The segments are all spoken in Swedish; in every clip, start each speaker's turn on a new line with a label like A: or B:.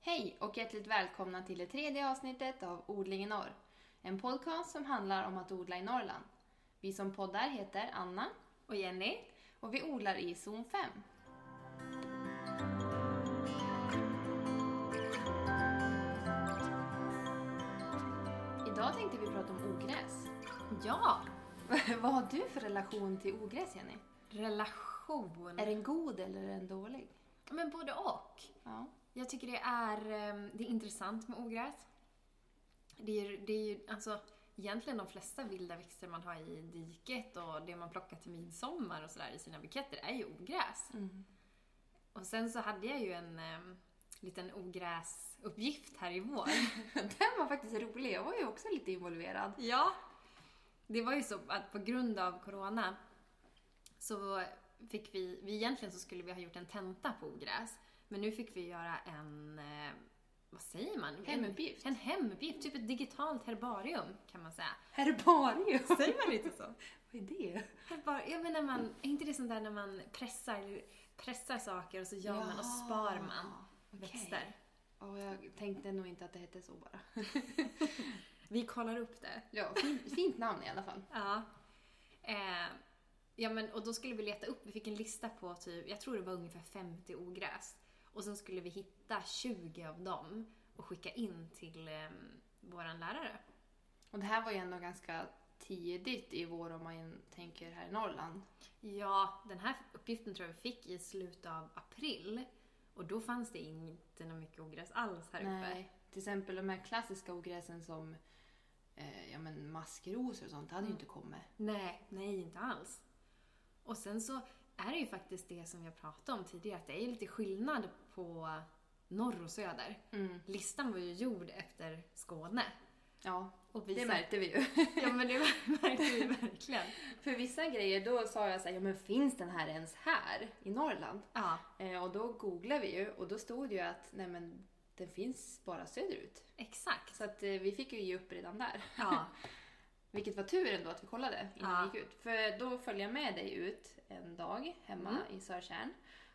A: Hej och hjärtligt välkomna till det tredje avsnittet av Odling i norr. En podcast som handlar om att odla i Norrland. Vi som poddar heter Anna
B: Och Jenny?
A: och vi odlar i zon 5. Idag tänkte vi prata om ogräs.
B: Ja!
A: Vad har du för relation till ogräs Jenny?
B: Relation.
A: Är den god eller är den dålig?
B: Men både och.
A: Ja.
B: Jag tycker det är, ehm, det är intressant med ogräs. Det är, ju- det är ju alltså, egentligen de flesta vilda växter man har i diket och det man plockar till midsommar och sådär i sina buketter är ju ogräs.
A: Mm.
B: Och sen så hade jag ju en ehm, liten ogräsuppgift här i vår.
A: Den var faktiskt rolig, jag var ju också lite involverad.
B: Ja. Det var ju så att på grund av corona så fick vi, vi egentligen så skulle vi ha gjort en tenta på ogräs. Men nu fick vi göra en, eh, vad säger man?
A: Hemuppgift.
B: En, en hemuppgift, typ ett digitalt herbarium kan man säga.
A: Herbarium!
B: Säger man inte så?
A: Vad är det?
B: Herbarium, ja men när man, är inte det sånt där när man pressar, pressar saker och så gör man och spar man växter?
A: Ja, jag tänkte nog inte att det hette så bara.
B: Vi kollar upp det.
A: Ja, fint, fint namn i alla fall.
B: Ja. Eh, ja men, och då skulle vi leta upp, vi fick en lista på typ, jag tror det var ungefär 50 ogräs. Och sen skulle vi hitta 20 av dem och skicka in till eh, våran lärare.
A: Och det här var ju ändå ganska tidigt i vår om man tänker här i Norrland.
B: Ja, den här uppgiften tror jag vi fick i slutet av april. Och då fanns det inte något mycket ogräs alls här uppe.
A: Nej, till exempel de här klassiska ogräsen som eh, ja, men maskrosor och sånt, det hade ju inte kommit.
B: Nej, nej inte alls. Och sen så är det ju faktiskt det som jag pratade om tidigare, att det är ju lite skillnad på norr och söder.
A: Mm.
B: Listan var ju gjord efter Skåne.
A: Ja,
B: Och
A: det
B: sa-
A: märkte vi ju.
B: Ja men det märkte vi verkligen.
A: För vissa grejer då sa jag så här, ja men finns den här ens här i Norrland?
B: Ja,
A: Eh, och då googlade vi ju och då stod det ju att nej men den finns bara söderut.
B: exakt.
A: Så att eh, vi fick ju ge upp redan där.
B: Ja,
A: Vilket var tur ändå att vi kollade innan
B: Ja.
A: vi gick ut. För då följde jag med dig ut en dag hemma i Sörtjärn.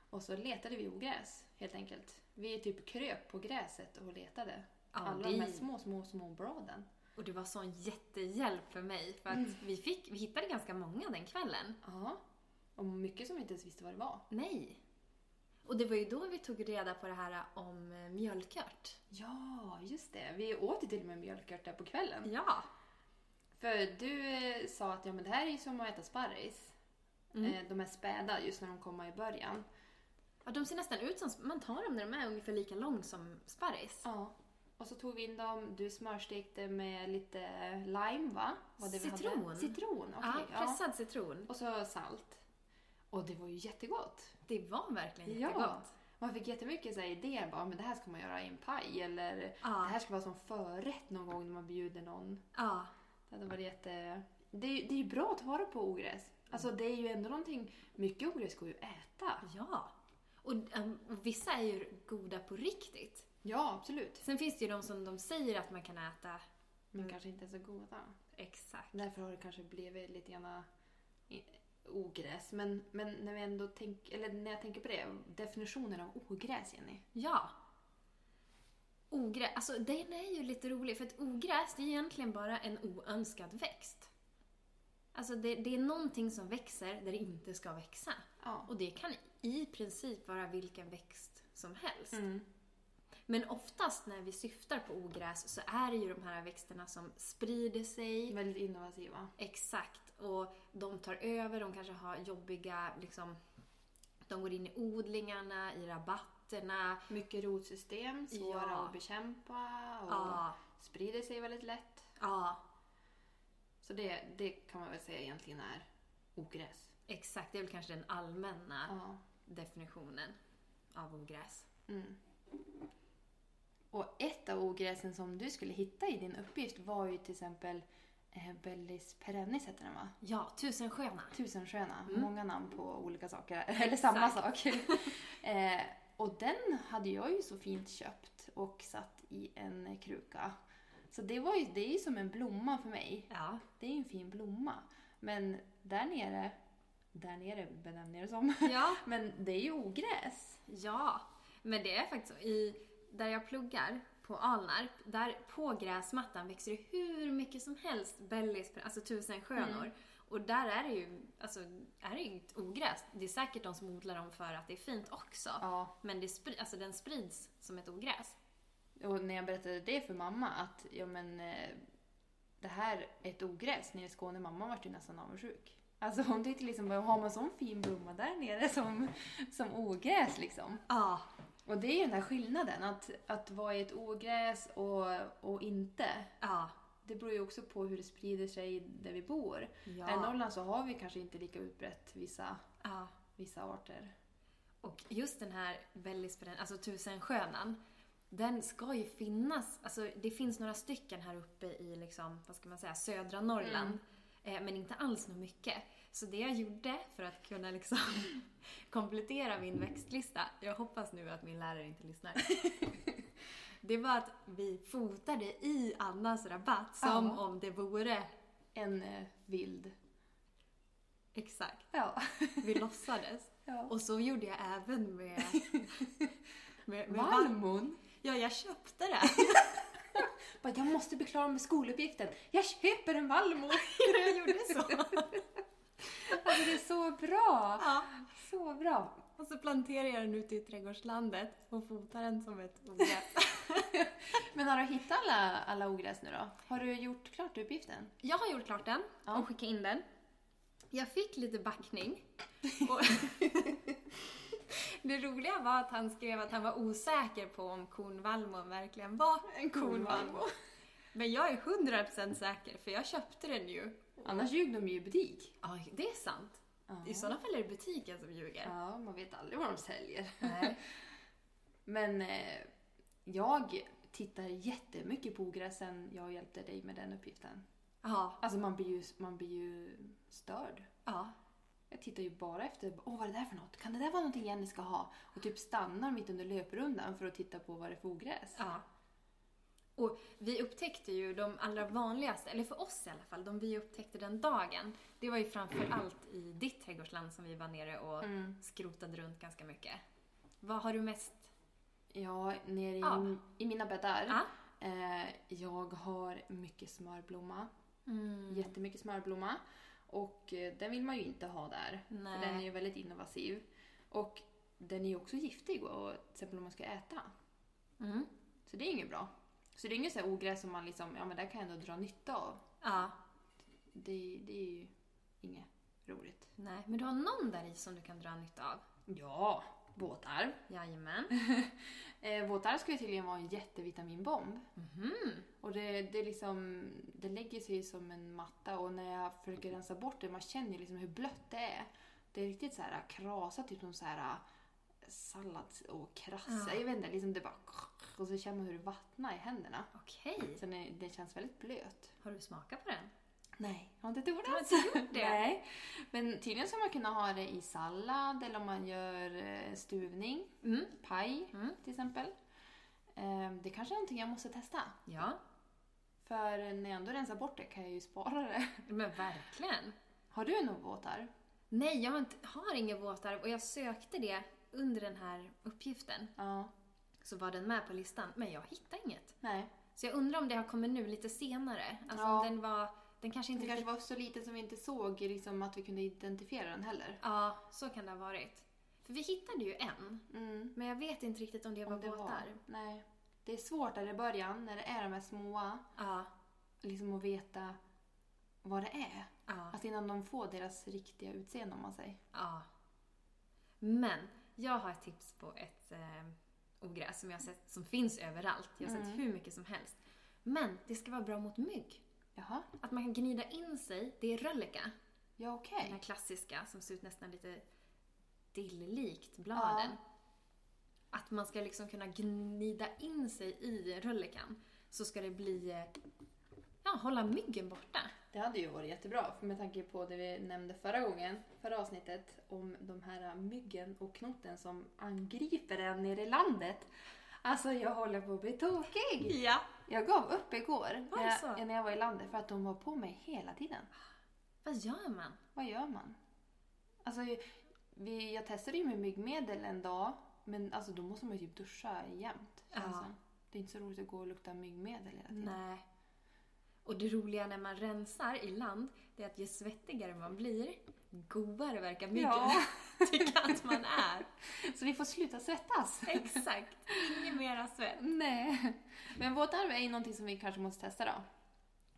A: Och så letade vi ogräs helt enkelt. Vi typ kröp på gräset och letade.
B: Ja,
A: Alla
B: det-
A: de här små, små, små bladen.
B: och det var sån jättehjälp för mig för att
A: Mm.
B: vi, fick, vi hittade ganska många den kvällen.
A: Ja. Och mycket som vi inte ens visste vad det var.
B: Nej. Och det var ju då vi tog reda på det här om eh, mjölkört.
A: Ja, just det. Vi åt ju till och med mjölkört där på kvällen.
B: Ja.
A: För du eh, sa att ja, men det här är ju som att äta sparris.
B: Mm.
A: Eh, De är späda just när de kommer i början.
B: ja. De ser nästan ut som, man tar dem när de är ungefär lika lång som sparris.
A: Ja. Och så tog vi in dem, du smörstekte med lite lime va? Vad vi hade.
B: Citron.
A: Citron, okej.
B: Ja,
A: ja.
B: pressad citron.
A: Och så salt. Och det var ju jättegott.
B: Det var verkligen jättegott.
A: Man fick jättemycket så här idéer, bara, men det här ska man göra i en paj eller
B: Ja.
A: det här ska vara som förrätt någon gång när man bjuder någon.
B: Ja.
A: Det hade varit jätte... Det är, ju- det är ju bra att vara på ogräs. Alltså det är ju ändå någonting, mycket ogräs går ju att äta.
B: Ja. Och äm, vissa är ju goda på riktigt.
A: Ja, absolut.
B: Sen finns det ju de som de säger att man kan äta.
A: Men kanske inte så goda.
B: Exakt.
A: Därför har det kanske blivit lite grann eh, ogräs. Men, men när, vi ändå tänk, eller när jag tänker på det, definitionen av ogräs, Jenny.
B: Ja. Ogräs, alltså den är ju lite rolig för att ogräs det är egentligen bara en oönskad växt. Alltså det, det är någonting som växer där det inte ska växa.
A: Ja.
B: Och det kan i princip vara vilken växt som helst.
A: Mm.
B: Men oftast när vi syftar på ogräs så är det ju de här växterna som sprider sig,
A: Väldigt innovativa.
B: Exakt. Och de tar över, de kanske har jobbiga... Liksom, de går in i odlingarna, i rabatterna.
A: Mycket rotsystem, svåra
B: Ja.
A: att bekämpa och
B: Ja.
A: sprider sig väldigt lätt.
B: ja,
A: Så det, det kan man väl säga egentligen är ogräs.
B: exakt. Det är väl kanske den allmänna
A: Ja.
B: definitionen av ogräs.
A: Mm. Och ett av ogräsen som du skulle hitta i din uppgift var ju till exempel eh, Bellis perennis heter den va?
B: Ja, tusensköna.
A: Tusensköna. Många namn på olika saker. Eller samma sak. eh, och den hade jag ju så fint köpt och satt i en kruka. Så det, var ju, det är ju som en blomma för mig.
B: Ja.
A: Det är ju en fin blomma. Men där nere, där nere benämner jag det som.
B: Ja.
A: Men det är ju ogräs.
B: ja. Men det är faktiskt så. I där jag pluggar, på Alnarp, där på gräsmattan växer det hur mycket som helst bellis, alltså tusenskönor. Och där är det ju, alltså, är det ju inget ogräs. Det är säkert de som odlar dem för att det är fint också.
A: Ja.
B: Men det spri- alltså, den sprids som ett ogräs.
A: Och när jag berättade det för mamma att ja men eh, det här är ett ogräs nere i Skåne. Mamma vart ju nästan avundsjuk. Alltså hon tyckte liksom, "Vad har man sån fin blomma där nere som, som ogräs liksom?
B: Ja.
A: Och det är ju den här skillnaden, att, att vad är ett ogräs och, och inte.
B: Ja.
A: Det beror ju också på hur det sprider sig där vi bor.
B: Ja.
A: Här I Norrland så har vi kanske inte lika utbrett vissa,
B: ja.
A: vissa arter.
B: Och just den här bellisperen, alltså tusenskönan, den ska ju finnas. Alltså det finns några stycken här uppe i liksom, vad ska man säga, södra Norrland. Eh, men inte alls så mycket. Så det jag gjorde för att kunna liksom komplettera min växtlista, jag hoppas nu att min lärare inte lyssnar. Det var att vi fotade i Annas rabatt som
A: Ja.
B: om det vore
A: En eh, vild.
B: exakt.
A: Ja.
B: Vi låtsades.
A: ja.
B: Och så gjorde jag även med, med, med
A: Valmon.
B: Ja, jag köpte det.
A: Bara, jag måste bli klar med skoluppgiften. Jag köper en vallmo!
B: jag gjorde så.
A: Alltså det är så bra!
B: Ja.
A: Så bra!
B: Och så planterade jag den ute i trädgårdslandet och fotade den som ett ogräs.
A: Men har du hittat alla, alla ogräs nu då? Har du gjort klart uppgiften?
B: Jag har gjort klart den
A: Ja.
B: och skickat in den. Jag fick lite backning. Och det roliga var att han skrev att han var osäker på om kornvallmon verkligen var en kornvallmo. Men jag är 100% säker för jag köpte den ju.
A: Annars ljög de ju i butik.
B: Ja, det är sant. I sådana fall är det butiken som ljuger.
A: Ja, man vet aldrig vad de säljer.
B: Nej.
A: Men eh, jag tittar jättemycket på ogräsen jag hjälpte dig med den uppgiften.
B: Ja,
A: Alltså man blir ju, man blir ju störd.
B: ja.
A: Jag tittar ju bara efter, åh vad är det där för något? Kan det där vara någonting Jenny ska ha? Och typ stannar mitt under löprundan för att titta på vad det är för ogräs.
B: Ja. Och vi upptäckte ju de allra vanligaste, eller för oss i alla fall, de vi upptäckte den dagen. Det var ju framförallt i ditt trädgårdsland som vi var nere
A: Mm.
B: och skrotade runt ganska mycket. Vad har du mest?
A: Ja, nere i,
B: Ja.
A: i mina bäddar.
B: Ja.
A: Eh, jag har mycket smörblomma.
B: Mm.
A: Jättemycket smörblomma. Och eh, den vill man ju inte ha där.
B: Nej.
A: För den är ju väldigt invasiv. Och den är ju också giftig och till exempel om man ska äta.
B: Mm.
A: Så det är inget bra. Så det är inget så här ogräs som man liksom, ja men det här kan jag ändå dra nytta av.
B: Ja.
A: Det, det är ju inget roligt.
B: Nej, men du har någon där i som du kan dra nytta av.
A: Ja, våtarv.
B: Jajamän.
A: Eh, våtarv ska ju tydligen vara en jättevitaminbomb.
B: Mhm.
A: Och det, det, är liksom, det lägger sig som en matta och när jag försöker rensa bort det, man känner ju liksom hur blött det är. Det är riktigt så här krasat, typ som så här sallad och krassa.
B: Ja.
A: Jag vet inte, liksom det bara... Och så känner man hur det vattnar i händerna.
B: Okej.
A: Så det, det känns väldigt blött.
B: Har du smakat på den?
A: Nej, jag har inte ett ord
B: Du har
A: alls.
B: inte gjort det?
A: Nej. Men tydligen ska man kunna ha det i sallad eller om man gör eh, stuvning,
B: Mm.
A: paj
B: Mm.
A: till exempel. Eh, Det kanske är någonting jag måste testa.
B: Ja.
A: För när jag ändå rensar bort det kan jag ju spara det.
B: Men verkligen.
A: Har du någon våtarv?
B: Nej, jag har, inte, har ingen våtarv och jag sökte det under den här uppgiften.
A: Ja.
B: så var den med på listan, men jag hittade inget.
A: Nej.
B: Så jag undrar om det har kommit nu lite senare. Alltså
A: Ja.
B: om den var... Den kanske inte...
A: Den kanske var så liten som vi inte såg liksom, att vi kunde identifiera den heller.
B: Ja, så kan det ha varit. För vi hittade ju en,
A: Mm.
B: men jag vet inte riktigt om det var
A: Om det var.
B: våtarv.
A: Nej. Det är svårt där i början, när det är de här små,
B: Ja,
A: liksom att veta vad det är.
B: ja,
A: Alltså innan de får deras riktiga utseende om man säger.
B: ja. Men jag har ett tips på ett eh, ogräs som jag har sett, som finns överallt. Jag har sett
A: Mm.
B: hur mycket som helst. Men det ska vara bra mot mygg.
A: Jaha,
B: Att man kan gnida in sig, det är rölleka.
A: ja okej.
B: Den här klassiska som ser ut nästan lite dilllikt bladen. Att man ska liksom kunna gnida in sig i röllekan. Så ska det bli... eh, Ja, hålla myggen borta.
A: Det hade ju varit jättebra för med tanke på det vi nämnde förra gången, förra avsnittet, om de här myggen och knotten som angriper en nere i landet. Alltså jag håller på att bli tokig!
B: Ja.
A: Jag gav upp igår när
B: Alltså.
A: jag, när jag var i landet för att de var på mig hela tiden.
B: Vad gör man?
A: Vad gör man? Alltså, vi, jag testade ju med myggmedel en dag men alltså då måste man ju typ duscha jämt. känns
B: Ja.
A: det. Det är inte så roligt att gå och lukta myggmedel hela tiden.
B: Nej. Och det roliga när man rensar i land, det är att ju svettigare man blir, godare verkar myggen
A: Ja.
B: tycka att man är.
A: Så vi får sluta svettas.
B: Exakt. Ingen mera svett.
A: Nej. Men vårt arv är ju någonting som vi kanske måste testa då.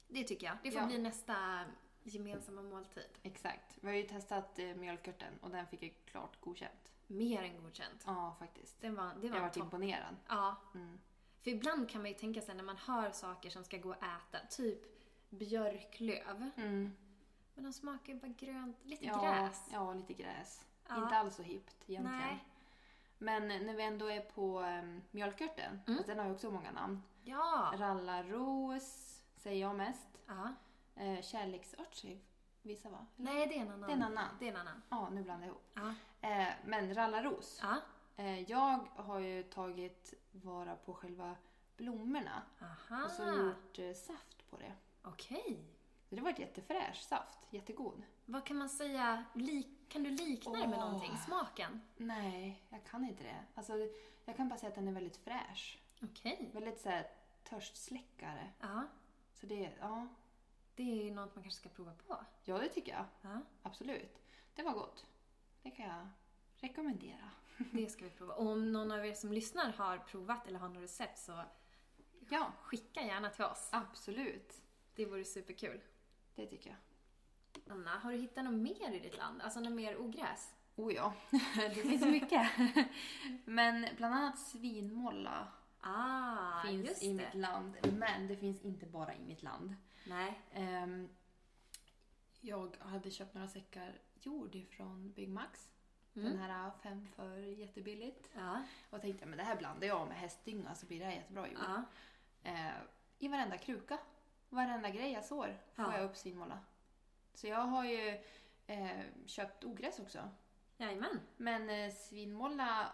B: Det tycker jag. Det får
A: Ja.
B: bli nästa gemensamma måltid.
A: Exakt. Vi har ju testat eh, mjölkörten och den fick ju klart godkänt.
B: Mer än godkänt.
A: Ja, faktiskt.
B: Den var, det
A: Jag
B: var
A: har varit
B: topp.
A: imponerad.
B: Ja.
A: Mm.
B: För ibland kan man ju tänka sig när man hör saker som ska gå att äta, typ björklöv.
A: Mm.
B: Men de smakar ju bara grönt, lite
A: Ja,
B: gräs.
A: Ja, lite gräs.
B: Ja.
A: Inte alls så hippt egentligen.
B: Nej.
A: Men eh, när vi ändå är på um, mjölkörten, fast den har ju också många namn.
B: Mm. Ja.
A: Rallarros säger jag mest.
B: ja.
A: Eh, kärleksört säger vissa va?
B: Nej, det är en annan.
A: Det är en annan.
B: Det är en annan.
A: Ja, nu blandar jag ihop.
B: Ja.
A: Eh, men rallarros.
B: Ja.
A: Eh, jag har ju tagit vara på själva blommorna
B: Aha.
A: och så gjort eh, saft på det.
B: Okej.
A: Så det var ett jättefräsch saft, jättegod.
B: Vad kan man säga? Lik, kan du likna det med
A: Åh.
B: någonting? Smaken?
A: Nej, jag kan inte det. Alltså, jag kan bara säga att den är väldigt fräsch.
B: Okej.
A: Väldigt så här, törstsläckare.
B: Ja.
A: Så det, ja.
B: Det är ju något man kanske ska prova på.
A: ja, det tycker jag.
B: Ja.
A: Absolut. Det var gott. Det kan jag rekommendera.
B: Det ska vi prova. Och om någon av er som lyssnar har provat eller har något recept så
A: Ja,
B: skicka gärna till oss.
A: absolut.
B: Det vore superkul.
A: Det tycker jag.
B: Anna, har du hittat något mer i ditt land? Alltså något mer ogräs?
A: Oh ja, det finns mycket. Men bland annat svinmolla
B: Ah,
A: finns
B: just
A: i
B: det.
A: mitt land. Men det finns inte bara i mitt land.
B: Nej.
A: Ehm, jag hade köpt några säckar jord ifrån Big Max.
B: Mm.
A: Den här fem för jättebilligt.
B: Ja.
A: Och tänkte men det här blandar jag med hästdynga så blir det här jättebra jord.
B: ja.
A: Eh, I varenda kruka, varenda grej jag sår får
B: Ja.
A: jag upp svinmåla. Så jag har ju eh, köpt ogräs också.
B: Jajamän.
A: Men eh, svinmåla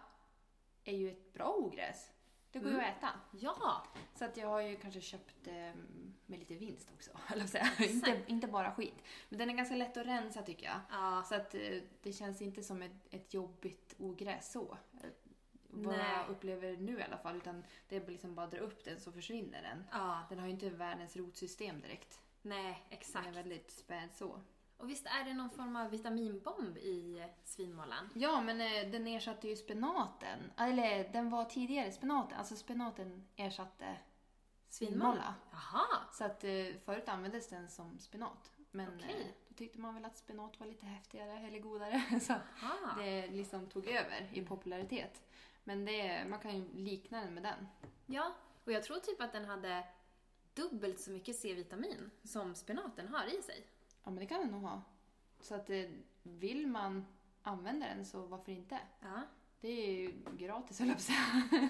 A: är ju ett bra ogräs. Det går ju
B: Mm.
A: att äta.
B: Ja.
A: Så att jag har ju kanske köpt eh, med lite vinst också, höll jag på att säga. inte, inte bara skit. Men den är ganska lätt att rensa tycker jag.
B: Ja.
A: Så att eh, det känns inte som ett, ett jobbigt ogräs så. Eh, Vad
B: Nej.
A: jag upplever nu i alla fall. Utan det är liksom bara att dra upp den så försvinner den.
B: Ja.
A: Den har ju inte världens rotsystem direkt.
B: Nej,
A: Den är
B: exakt.
A: väldigt späd så.
B: Och visst är det någon form av vitaminbomb i svinmålan?
A: Ja, men eh, den ersatte ju spenaten. Eller den var tidigare spenaten. Alltså spenaten ersatte svinmåla.
B: Jaha.
A: Så att eh, förut användes den som spenat. Men
B: Okej.
A: eh, då tyckte man väl att spenat var lite häftigare eller godare. Så
B: Aha.
A: det liksom tog över i popularitet. Men det, man kan ju likna den med den.
B: Ja, och jag tror typ att den hade dubbelt så mycket C-vitamin som spenaten har i sig.
A: Ja, men det kan den nog ha. Så att eh, vill man använda den så varför inte?
B: Ja.
A: Det är ju gratis höll jag på att säga.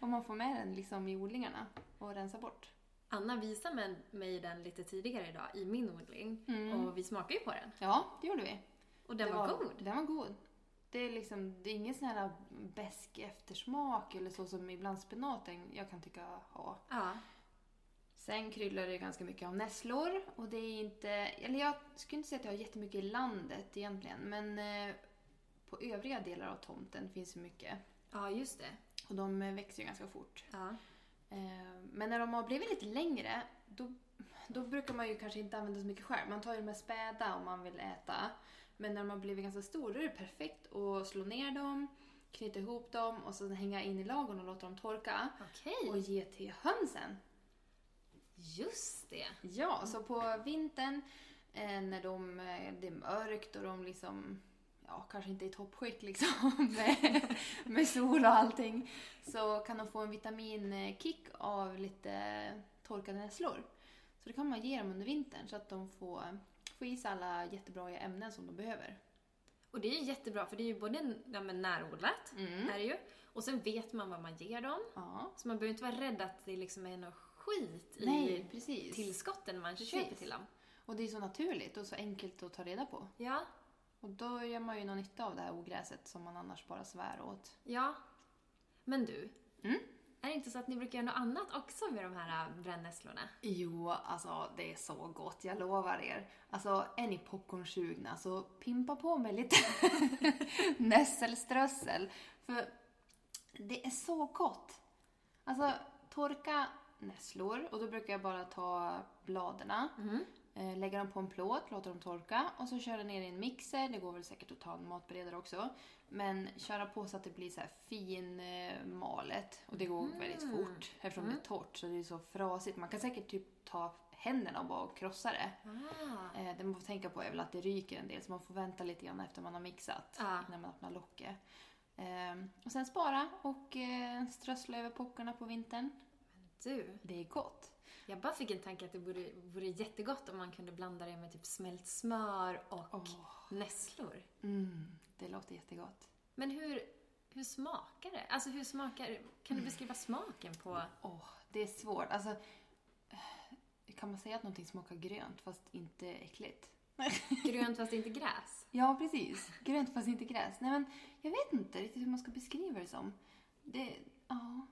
A: Om man får med den liksom i odlingarna och rensar bort.
B: Anna visade mig- mig den lite tidigare idag i min odling
A: Mm.
B: och vi smakade ju på den.
A: Ja, det gjorde vi.
B: Och den
A: Det
B: var, god.
A: Den var god. Det är liksom, det är ingen sån här besk eftersmak eller så som ibland spenaten jag kan tycka ha.
B: Ja.
A: Sen kryllar det ganska mycket av nässlor och det är inte, eller jag skulle inte säga att jag har jättemycket i landet egentligen men eh, på övriga delar av tomten finns det mycket.
B: ja, just det.
A: Och de eh, växer ju ganska fort.
B: Ja.
A: Eh, Men när de har blivit lite längre då, då brukar man ju kanske inte använda så mycket skär. Man tar ju de här späda om man vill äta. Men när de har blivit ganska stora då är det perfekt att slå ner dem, knyta ihop dem och sen hänga in i lagren och låta dem torka.
B: Okej,
A: Och ge till hönsen.
B: just det.
A: Ja, så på vintern eh, när de, eh, det är mörkt och de liksom, ja kanske inte är i toppskick liksom med, med sol och allting. Så kan de få en vitaminkick av lite torkade nässlor. Så det kan man ge dem under vintern så att de får, får i sig alla jättebra ämnen som de behöver.
B: Och det är ju jättebra för det är ju både ja, men närodlat,
A: Mm.
B: är det ju, och sen vet man vad man ger dem.
A: Ja.
B: Så man behöver inte vara rädd att det liksom är något skit
A: Nej,
B: i
A: precis.
B: tillskotten man
A: Precis.
B: köper till dem.
A: Och det är så naturligt och så enkelt att ta reda på.
B: Ja,
A: Och då gör man ju någon nytta av det här ogräset som man annars bara svär åt.
B: ja. Men du,
A: Mm.
B: är det inte så att ni brukar göra något annat också med de här äh, brännässlorna?
A: Jo, alltså det är så gott, jag lovar er. Alltså, är ni popcornsugna så pimpa på med lite nässelströssel. För Det är så gott! Alltså, torka nässlor och då brukar jag bara ta bladerna,
B: Mm.
A: eh, lägga dem på en plåt, låta dem torka och så köra ner i en mixer. Det går väl säkert att ta en matberedare också. Men köra på så att det blir så här fin eh, malet och det går väldigt fort eftersom det är torrt så det är så frasigt. Man kan säkert typ ta händerna och bara krossa det.
B: Ah.
A: Eh, det man får tänka på är väl att det ryker en del så man får vänta lite grann efter man har mixat
B: Ja.
A: innan man öppnar locket. Ehm, och sen spara och eh, strössla över pockarna på vintern.
B: Du,
A: Det är gott.
B: jag bara fick en tanke att det vore, vore jättegott om man kunde blanda det med typ smält smör och
A: Åh.
B: nässlor.
A: Mm, det låter jättegott.
B: Men hur, hur smakar det? Alltså hur smakar Kan du beskriva smaken på...
A: Åh, det är svårt. Alltså, eh, kan man säga att någonting smakar grönt fast inte äckligt?
B: Grönt fast inte gräs?
A: Ja, precis. Grönt fast inte gräs. Nej, men jag vet inte riktigt hur man ska beskriva det som. Det, ja.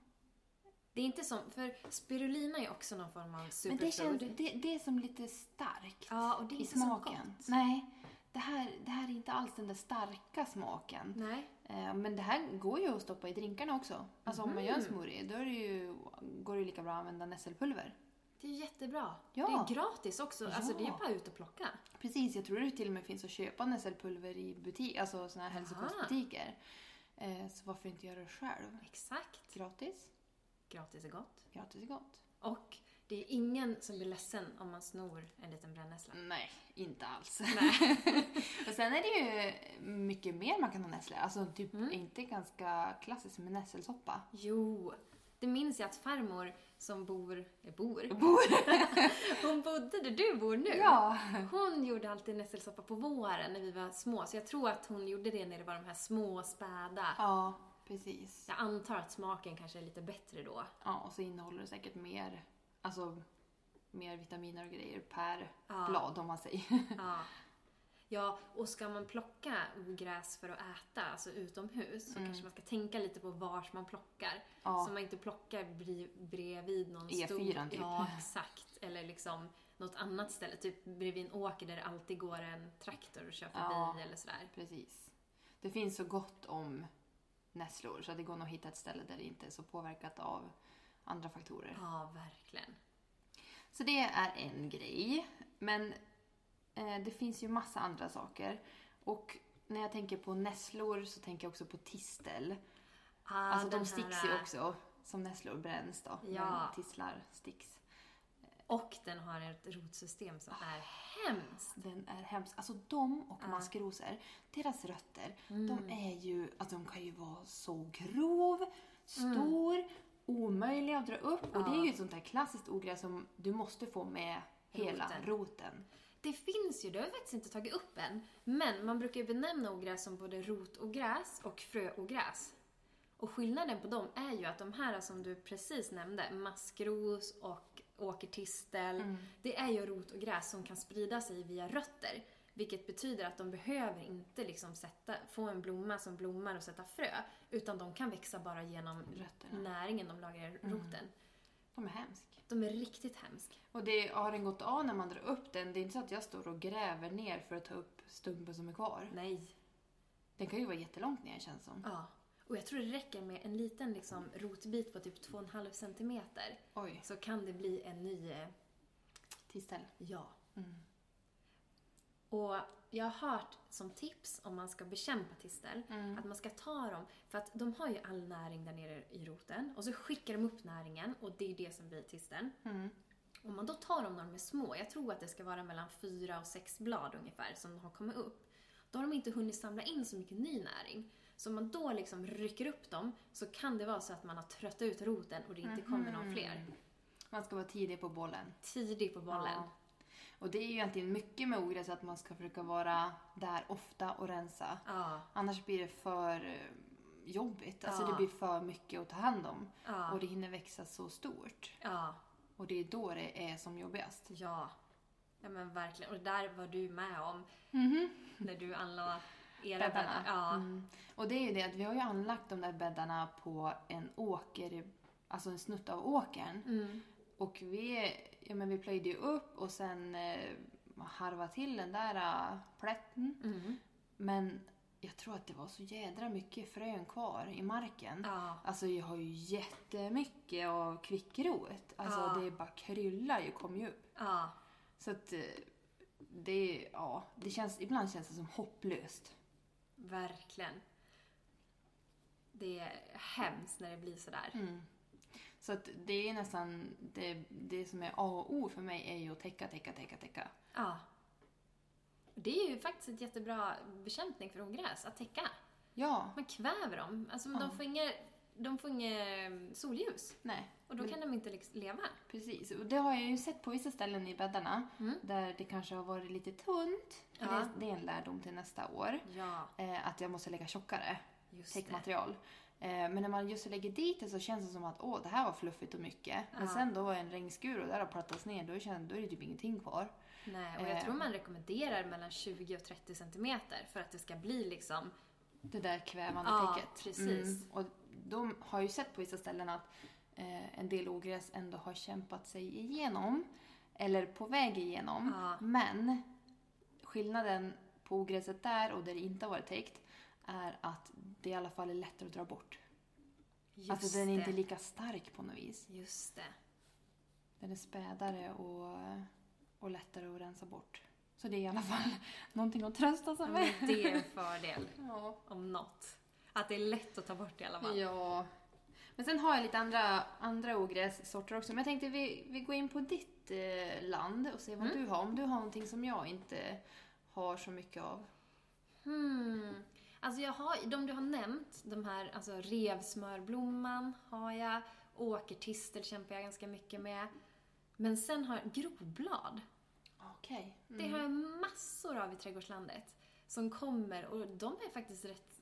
B: Det är inte som... För spirulina är också någon form av
A: Men det
B: superfood.
A: känns, det, det är som lite starkt.
B: Ja, och det är
A: i
B: inte så
A: smaken.
B: gott.
A: Nej, det här, det här är inte alls den där starka smaken.
B: Nej.
A: Eh, Men det här går ju att stoppa i drinkarna också. Alltså om man gör en
B: Mm.
A: smoothie, då är det ju, går det ju lika bra att använda nässelpulver.
B: Det är ju jättebra.
A: Ja.
B: Det är gratis också. Alltså det är
A: Ja.
B: bara ut och plocka.
A: Precis, jag tror det till och med finns att köpa nässelpulver i butik, alltså såna här hälsokostbutiker. Eh, Så varför inte göra det själv?
B: Exakt.
A: Gratis.
B: Gratis är gott.
A: Gratis är gott.
B: Och det är ingen som blir ledsen om man snor en liten brännässla.
A: Nej, inte alls. och sen är det ju mycket mer man kan ha nässlor. Alltså typ
B: Mm.
A: inte ganska klassiskt med nässelsoppa.
B: Jo, det minns jag att farmor som bor... eh, Bor? Hon bodde där du bor nu.
A: Ja.
B: Hon gjorde alltid nässelsoppa på våren när vi var små, så jag tror att hon gjorde det när det var de här små, späda.
A: Ja, precis.
B: Jag antar att smaken kanske är lite bättre då.
A: Ja, och så innehåller det säkert mer, alltså, mer vitaminer och grejer per
B: Ja.
A: blad om man säger.
B: Ja. ja, och ska man plocka ogräs för att äta, alltså utomhus, så kanske man ska tänka lite på vars man plockar.
A: Mm. Ja.
B: Så man inte plockar bri- bredvid någon
A: E4
B: stor...
A: typ.
B: Ja, exakt. Eller liksom något annat ställe, typ bredvid en åker där det alltid går en traktor och kör förbi
A: Ja.
B: eller sådär.
A: Precis. Det finns så gott om nässlor så det går nog att hitta ett ställe där det inte är så påverkat av andra faktorer.
B: Ja, verkligen.
A: Så det är en grej. Men eh, det finns ju massa andra saker. Och när jag tänker på nässlor så tänker jag också på tistel.
B: Ah,
A: alltså de
B: den här,
A: sticks ju också. Som nässlor bränns då.
B: Ja.
A: Men tistlar sticks.
B: Och den har ett rotsystem som är hemskt.
A: Den är hemsk. Alltså de och maskrosor, deras rötter,
B: Mm.
A: de är ju, alltså de kan ju vara så grov, stor, omöjlig att dra upp. Och det är ju ett sånt där klassiskt ogräs som du måste få med hela
B: Roten.
A: roten.
B: Det finns ju, det har jag faktiskt inte tagit upp än, men man brukar ju benämna ogräs som både rotogräs och fröogräs. Och skillnaden på dem är ju att de här som du precis nämnde, maskros och åkertistel,
A: Mm.
B: det är ju rotogräs som kan sprida sig via rötter. Vilket betyder att de behöver inte liksom sätta, få en blomma som blommar och sätta frö, utan de kan växa bara genom
A: Rötterna.
B: näringen de lagrar i roten.
A: De är hemska.
B: De är riktigt hemska.
A: Och det, har den gått av när man drar upp den, det är inte så att jag står och gräver ner för att ta upp stumpen som är kvar.
B: Nej.
A: Den kan ju vara jättelångt ner känns som.
B: Ja. Och jag tror det räcker med en liten liksom, rotbit på typ 2,5 centimeter.
A: Oj,
B: Så kan det bli en ny... eh,
A: tistel.
B: Ja. Mm. Och jag har hört som tips om man ska bekämpa tistel,
A: Mm.
B: att man ska ta dem, för att de har ju all näring där nere i roten och så skickar de upp näringen och det är det som blir tisteln.
A: Mm.
B: Om man då tar dem när de är små, jag tror att det ska vara mellan fyra och sex blad ungefär som har kommit upp, då har de inte hunnit samla in så mycket ny näring. Så om man då liksom rycker upp dem så kan det vara så att man har tröttat ut roten och det inte kommer
A: Mm-hmm.
B: någon fler.
A: Man ska vara tidig på bollen.
B: Tidig på bollen.
A: Ja. Och det är ju egentligen mycket med ogräs att man ska försöka vara där ofta och rensa.
B: Ja.
A: Annars blir det för eh, jobbigt. Alltså
B: Ja.
A: det blir för mycket att ta hand om.
B: Ja.
A: Och det hinner växa så stort.
B: ja.
A: Och det är då det är som jobbigast.
B: Ja. ja, men verkligen. Och det där var du med om. När du anlade era
A: Bäddarna.
B: bäddar. Mm-hmm. Ja.
A: Mm. Och det är ju det att vi har ju anlagt de där bäddarna på en åker, alltså en snutt av åkern. Och vi, ja, men vi plöjde ju upp och
B: Mm.
A: Mm. sen eh, harvade till den där eh, plätten. Men jag tror att det var så jädra mycket frön kvar i marken.
B: Ja.
A: Alltså jag har ju jättemycket av kvickrot. Alltså
B: Ja.
A: det bara kryllar ju, kom ju upp.
B: Ja.
A: Så att eh, det, ja, det känns, ibland känns det som hopplöst.
B: Verkligen. Det är hemskt när det blir sådär.
A: Mm. Så att det är nästan, det, det som är A och O för mig är ju att täcka, täcka, täcka, täcka.
B: Ja. Det är ju faktiskt ett jättebra bekämpning för ogräs, att täcka.
A: Ja,
B: Man kväver dem. Alltså, de, får inga, de får inget solljus.
A: nej.
B: Och då kan de inte liksom leva.
A: Precis, och det har jag ju sett på vissa ställen i bäddarna
B: Mm.
A: där det kanske har varit lite tunt.
B: Ja.
A: Det, det är en lärdom till nästa år.
B: Ja,
A: Eh, att jag måste lägga tjockare
B: just det.
A: täckmaterial. Eh, men när man just lägger dit det så känns det som att åh, det här var fluffigt och mycket. Men
B: Ja.
A: sen då var en regnskur och där har plattats ner, då, känner, då är det typ ingenting kvar.
B: Nej, och jag
A: Eh.
B: tror man rekommenderar mellan 20 och 30 centimeter för att det ska bli liksom...
A: Det där kvävande
B: Ja,
A: täcket. Mm.
B: precis.
A: Och de har ju sett på vissa ställen att eh, en del ogräs ändå har kämpat sig igenom. Eller på väg igenom.
B: Ja.
A: Men skillnaden på ogräset där och där det inte har varit täckt är att det i alla fall är lättare att dra bort.
B: Just
A: alltså den är
B: det.
A: inte lika stark på något vis.
B: Just det.
A: Den är spädare och, och lättare att rensa bort. Så det är i alla fall någonting att trösta sig med.
B: Men det är en fördel,
A: Ja.
B: om något. Att det är lätt att ta bort i alla fall.
A: Ja. Men sen har jag lite andra, andra ogrässorter också. Men jag tänkte vi, vi går in på ditt eh, land och ser vad du har. Om du har någonting som jag inte har så mycket av.
B: Hmm. Alltså jag har, de du har nämnt, de här, alltså revsmörblomman har jag, åkertistel kämpar jag ganska mycket med. Men sen har jag groblad.
A: Okej.
B: Det har jag
A: Mm.
B: massor av i trädgårdslandet. Som kommer och de är faktiskt rätt,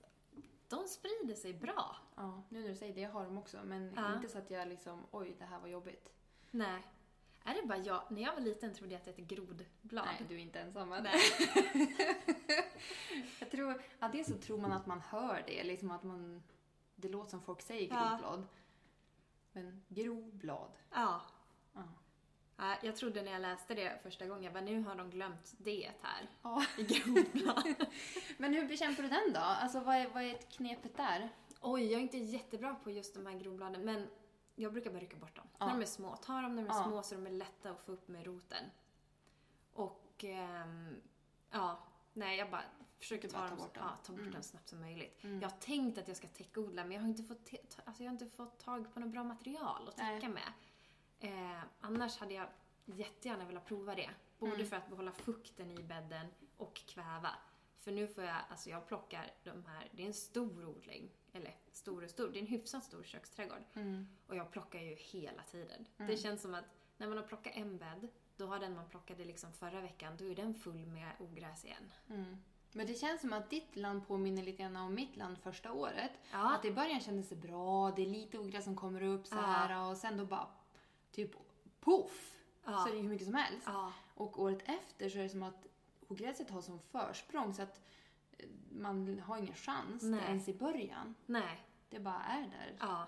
B: de sprider sig bra.
A: Ja, nu när du säger det, jag har dem också. Men
B: Ja.
A: inte så att jag liksom, oj det här var jobbigt.
B: Nej. Är det bara jag, när jag var liten trodde jag att det hette grodblad.
A: Nej, du är inte ensam. Nej. jag tror, ja, dels så tror man att man hör det, liksom att man, det låter som folk säger
B: Ja.
A: groblad. Men groblad.
B: Ja.
A: Ja.
B: Ja, Jag trodde när jag läste det första gången, jag bara, nu har de glömt det här.
A: Ja.
B: I groblad.
A: Men hur bekämpar du den då? Alltså vad är, vad är knepet där?
B: Oj, jag är inte jättebra på just de här grobbladen, men jag brukar bara rycka bort dem.
A: Ja.
B: När de är små. Ta dem när de är
A: Ja.
B: små så de är lätta att få upp med roten. Och, ehm, ja. Nej, jag bara försöker
A: Bara ta
B: ta, dem,
A: bort dem.
B: Ja, ta bort
A: Mm.
B: dem snabbt som möjligt.
A: Mm.
B: Jag har tänkt att jag ska täckodla, men jag har inte fått, te- ta- alltså, jag har inte fått tag på något bra material att
A: Nej.
B: täcka med. Eh, annars hade jag jättegärna velat prova det. Både
A: Mm.
B: för att behålla fukten i bädden och kväva. För nu får jag, alltså jag plockar de här, det är en stor odling. Eller stor och stor, det är en hyfsat stor köksträdgård.
A: Mm.
B: Och jag plockar ju hela tiden. Det känns som att när man har plockat en bädd, då har den man plockade liksom förra veckan, då är den full med ogräs igen.
A: Mm. Men det känns som att ditt land påminner lite grann om mitt land första året.
B: Ja.
A: Att i början kändes det bra, det är lite ogräs som kommer upp så
B: Ja.
A: här och sen då bara typ poff!
B: Ja.
A: Så är det hur mycket som helst.
B: Ja,
A: Och året efter så är det som att ogräset har som försprång så att eh, man har ingen chans
B: Nej.
A: ens i början.
B: nej,
A: Det bara är där.
B: ja.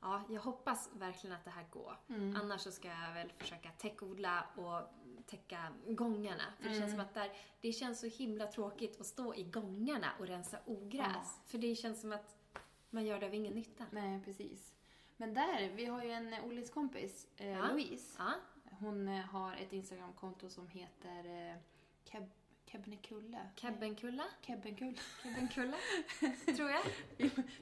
B: Ja, jag hoppas verkligen att det här går. Annars så ska jag väl försöka täckodla och täcka gångarna. För det känns som att där, det känns så himla tråkigt att stå i gångarna och rensa ogräs. För det känns som att man gör det av ingen nytta.
A: Nej, precis. Men där, vi har ju en eh, Olles kompis, eh,
B: Ja.
A: Louise.
B: Ja,
A: Hon eh, har ett Instagramkonto som heter eh, Keb Kebnekulle.
B: Kebbenkulla.
A: Kebnekulle.
B: Kebbenkulla, tror jag.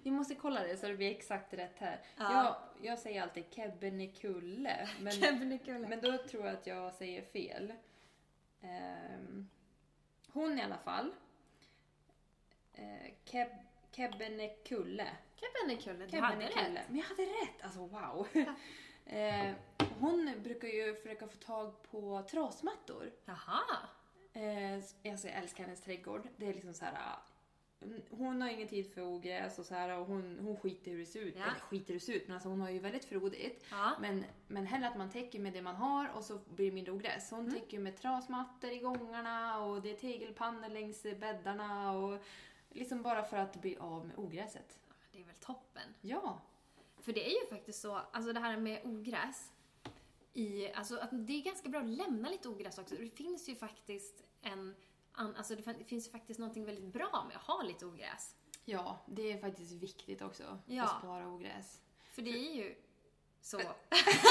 A: Vi måste kolla det så det blir exakt rätt här.
B: Ja.
A: Jag, jag säger alltid Kebnekulle, men,
B: Kebbenkulla.
A: men då tror jag att jag säger fel. Ehm, hon i alla fall. Eh, Keb Kebnekulle.
B: Kebbenkulla, du hade
A: Kebnekulle.
B: rätt.
A: Men jag hade rätt! Alltså wow! Eh, hon brukar ju försöka få tag på trasmattor.
B: Jaha.
A: Eh, alltså jag älskar hennes trädgård. Det är liksom så här. ah, mm, Hon har ingen tid för ogräs och så här och hon, hon skiter i hur det ser ut.
B: Ja.
A: Eller skiter i hur det ser ut, men alltså hon har ju väldigt frodigt.
B: Ja.
A: Men, men hellre att man täcker med det man har och så blir det mindre ogräs. Så hon täcker ju med trasmattor i gångarna och det är tegelpannor längs bäddarna och liksom bara för att bli av med ogräset.
B: Det är väl toppen.
A: Ja,
B: För det är ju faktiskt så, alltså det här med ogräs. I, alltså att det är ganska bra att lämna lite ogräs också. Det finns ju faktiskt en an- alltså det fin- finns ju faktiskt någonting väldigt bra med att ha lite ogräs.
A: Ja, det är faktiskt viktigt också
B: Ja.
A: att spara ogräs.
B: För det är ju så.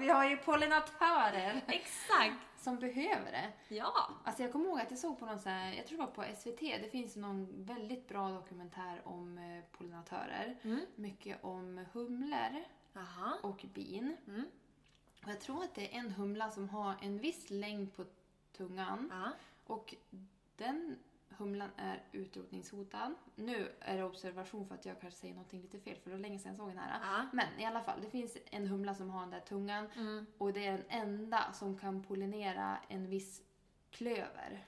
A: Vi har ju pollinatörer
B: Exakt!
A: som behöver det.
B: Ja!
A: Alltså jag kommer ihåg att jag såg på någon så här, jag tror det var på SVT, det finns någon väldigt bra dokumentär om eh, pollinatörer.
B: Mm.
A: Mycket om humlor
B: Aha.
A: och bin.
B: Mm.
A: Och jag tror att det är en humla som har en viss längd på tungan.
B: Ja.
A: Och den humlan är utrotningshotad. Nu är det observation för att jag kanske säger någonting lite fel för det var länge sedan jag såg den här.
B: Ja.
A: Men i alla fall, det finns en humla som har den där tungan
B: Mm.
A: och det är den enda som kan pollinera en viss klöver.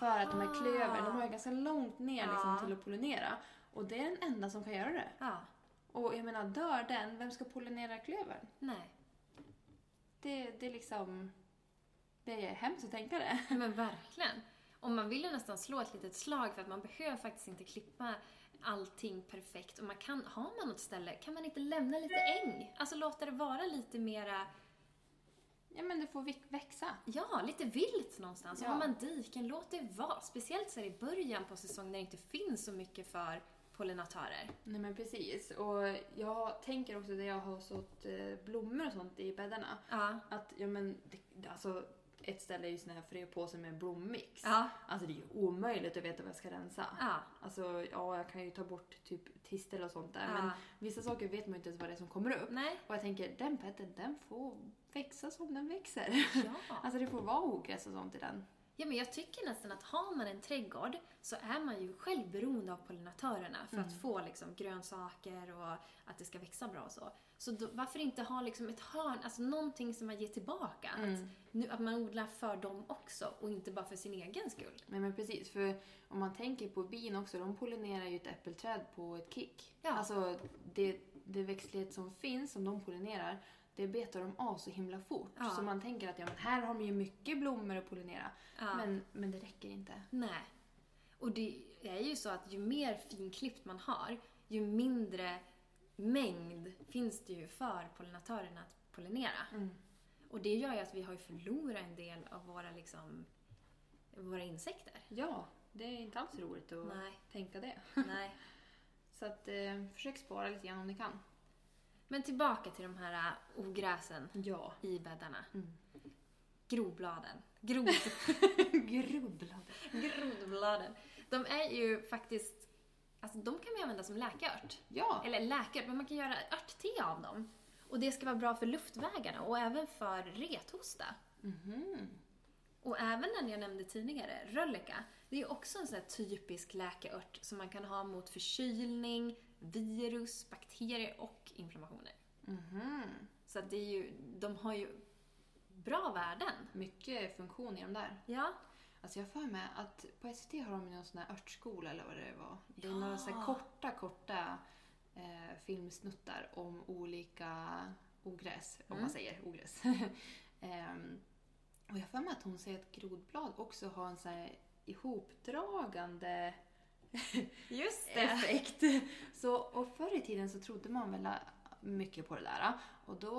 A: För att de här klöver, de har ju ganska långt ner liksom,
B: Ja.
A: till att pollinera. Och det är den enda som kan göra det.
B: ja.
A: Och jag menar, dör den, vem ska pollinera klövern?
B: Nej.
A: Det, det är liksom... Det är hemskt att tänka det.
B: Men verkligen. Och man vill ju nästan slå ett litet slag för att man behöver faktiskt inte klippa allting perfekt. Och man kan, har man något ställe, kan man inte lämna lite äng? Alltså låta det vara lite mera,
A: Ja men det får vi- växa.
B: ja, lite vilt någonstans.
A: Ja.
B: Och har man diken, låt det vara. Speciellt så här i början på säsongen när det inte finns så mycket för pollinatörer.
A: Nej men precis. Och jag tänker också det jag har sått eh, blommor och sånt i bäddarna.
B: Ja.
A: Att, ja men, det, alltså ett ställe är ju sån här fröpåse med blommix.
B: Ja.
A: Alltså det är ju omöjligt att veta vad jag ska rensa.
B: Ja.
A: Alltså ja, jag kan ju ta bort typ tistel och sånt där. Men
B: Ja. Mm.
A: vissa saker vet man ju inte ens vad det är som kommer upp.
B: Nej.
A: Och jag tänker, den petten den får växa som den växer.
B: Ja.
A: Alltså det får vara ogräs och sånt i den.
B: Ja, men jag tycker nästan att har man en trädgård så är man ju själv beroende av pollinatörerna för
A: Mm.
B: att få liksom grönsaker och att det ska växa bra och så. Så då, varför inte ha liksom ett hörn, alltså någonting som man ger tillbaka?
A: Mm.
B: Att, nu, att man odlar för dem också och inte bara för sin egen skull.
A: Nej men precis, för om man tänker på bin också, de pollinerar ju ett äppelträd på ett kick.
B: Ja.
A: Alltså det, det växtlighet som finns, som de pollinerar, det betar de av så himla fort.
B: Ja.
A: Så man tänker att ja, men här har de ju mycket blommor att pollinera.
B: Ja.
A: Men, men det räcker inte.
B: Nej. Och det är ju så att ju mer finklippt man har, ju mindre mängd finns det ju för pollinatörerna att pollinera. Och det gör ju att vi har ju förlorat en del av våra, liksom, våra insekter.
A: Ja, det är inte alls roligt att
B: Nej.
A: tänka det.
B: Nej.
A: Så att, eh, försök spara lite grann om ni kan.
B: Men tillbaka till de här äh, ogräsen
A: Ja.
B: i bäddarna.
A: Mm.
B: Grovbladen. Grov...
A: Grubblad.
B: Grodbladen. De är ju faktiskt... Alltså de kan man använda som läkeört.
A: Ja.
B: Eller läkört, men man kan göra örtte av dem. Och det ska vara bra för luftvägarna och även för rethosta. Mhm. Och även den jag nämnde tidigare, rölleka, det är ju också en sån här typisk läkeört som man kan ha mot förkylning, virus, bakterier och inflammationer.
A: Mhm.
B: Så att det är ju, de har ju bra värden.
A: Mycket funktion i de där.
B: Ja.
A: Alltså jag har för mig att på SVT har de ju någon sån här örtskola eller vad det var. Det är
B: Ja.
A: några så här korta, korta eh, filmsnuttar om olika ogräs, om man säger ogräs. Ehm, och jag har för mig att hon säger att grodblad också har en så här ihopdragande
B: Just
A: effekt. Så, och förr i tiden så trodde man väl mycket på det där. Och då,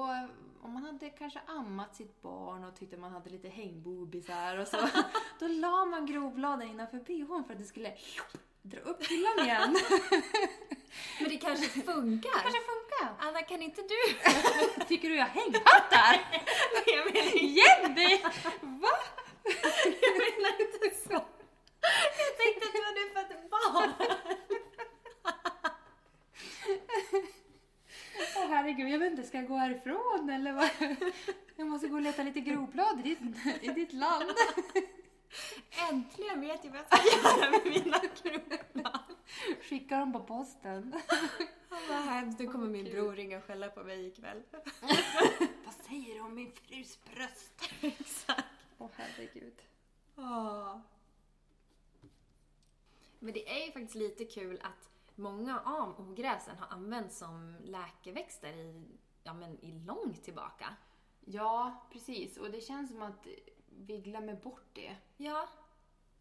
A: om man hade kanske ammat sitt barn och tyckte man hade lite hängbobisar och så, då la man grovbladen innanför bhn för att det skulle dra upp hyllan igen.
B: Men det kanske funkar?
A: kanske funkar.
B: Anna, kan inte du?
A: Tycker du jag hänghattar?
B: Jag menar
A: Jenny! Va?
B: Jag menar inte så. Jag tänkte att du hade fött ett barn.
A: Åh herregud, jag vet inte, ska jag gå härifrån eller vad? Jag måste gå och leta lite grovblad i ditt, i ditt land.
B: Äntligen vet jag vad jag ska göra med mina kronor.
A: Skicka dem på posten.
B: Vad hemskt, nu kommer min
A: Gud.
B: bror ringa och skälla på mig ikväll.
A: Vad säger du om min frus bröst?
B: Exakt.
A: Åh herregud.
B: Åh. Men det är ju faktiskt lite kul att många av ogräsen har använts som läkeväxter i, ja, men i långt tillbaka.
A: Ja, precis. Och det känns som att vi glömmer bort det.
B: Ja,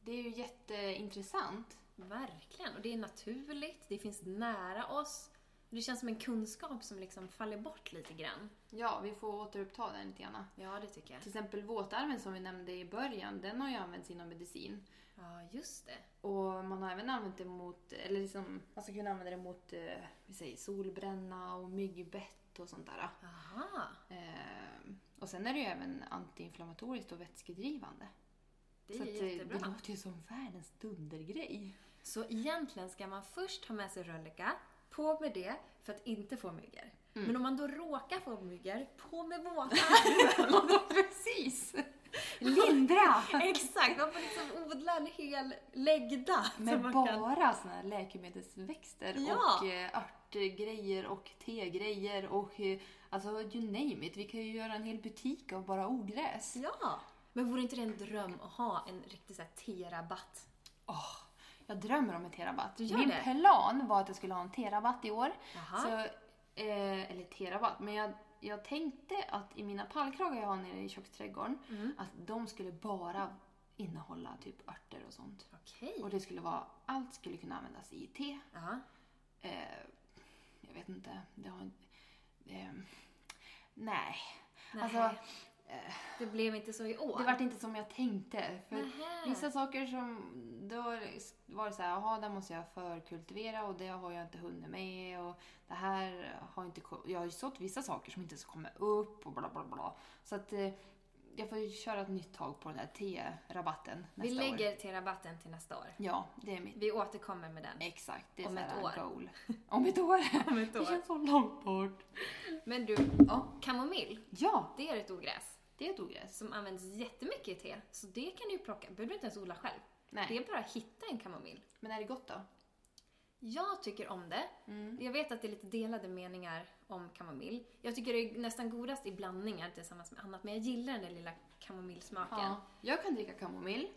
A: Det är ju jätteintressant.
B: verkligen. Och det är naturligt, det finns nära oss Det känns som en kunskap som liksom faller bort lite grann.
A: Ja, vi får återuppta den lite grann.
B: Ja, det tycker jag.
A: Till exempel våtarmen som vi nämnde i början, den har ju använts inom medicin.
B: Ja, just det.
A: Och man har även använt det mot, eller liksom, man ska kunna använda det mot eh, vi säger, solbränna och myggbett och sånt där.
B: Aha.
A: Eh, och sen är det ju även antiinflammatoriskt och vätskedrivande.
B: Det är
A: Så att, eh,
B: jättebra.
A: det låter ju som världens dundergrej.
B: Så egentligen ska man först ha med sig rölleka, på med det för att inte få myggor.
A: Mm.
B: Men om man då råkar få myggor, på med våtar!
A: Precis! Lindra!
B: Exakt, man får liksom odla en hel läggda. som
A: Med
B: man
A: bara såna här läkemedelsväxter
B: Ja.
A: och eh, örtgrejer och tegrejer och eh, alltså you name it. Vi kan ju göra en hel butik av bara ogräs.
B: Ja! Men vore inte det en dröm att ha en riktig så här te-rabatt?
A: Åh, jag drömmer om en terabatt.
B: gör
A: Min
B: det?
A: plan var att jag skulle ha en terabatt i år.
B: Jaha.
A: Så, eh, eller terabatt, men jag, jag tänkte att i mina pallkragar jag har nere i köksträdgården,
B: Mm.
A: att de skulle bara innehålla typ örter och sånt.
B: Okej.
A: Och det skulle vara, allt skulle kunna användas i te.
B: Ja.
A: Eh, jag vet inte. Det har, eh, nej.
B: Nej,
A: Alltså,
B: det blev inte så i år.
A: det vart inte som jag tänkte. För
B: Nähä.
A: Vissa saker som... Då var det så här, jaha, det måste jag förkultivera och det har jag inte hunnit med. Och det här har inte... ko- Jag har ju sått vissa saker som inte ens kommer upp och bla bla bla. Så att eh, jag får ju köra ett nytt tag på den där te-rabatten nästa
B: Vi
A: år.
B: lägger te-rabatten till nästa år.
A: Ja, det är mitt...
B: Vi återkommer med den.
A: Exakt, det är
B: Om
A: så
B: ett
A: här
B: år.
A: goal. Om ett år.
B: Om ett år.
A: Det känns så långt bort.
B: Men du, kamomill,
A: Ja,
B: det är ett ogräs
A: det är ett ogräs.
B: som används jättemycket i te. Så det kan du ju plocka, behöver du inte ens odla själv.
A: Nej.
B: Det är bara att hitta en kamomill.
A: Men är det gott då?
B: Jag tycker om det.
A: Mm.
B: Jag vet att det är lite delade meningar om kamomill. Jag tycker det är nästan godast i blandningar tillsammans med annat, men jag gillar den där lilla kamomillsmaken.
A: Ja. Jag kan dricka kamomill.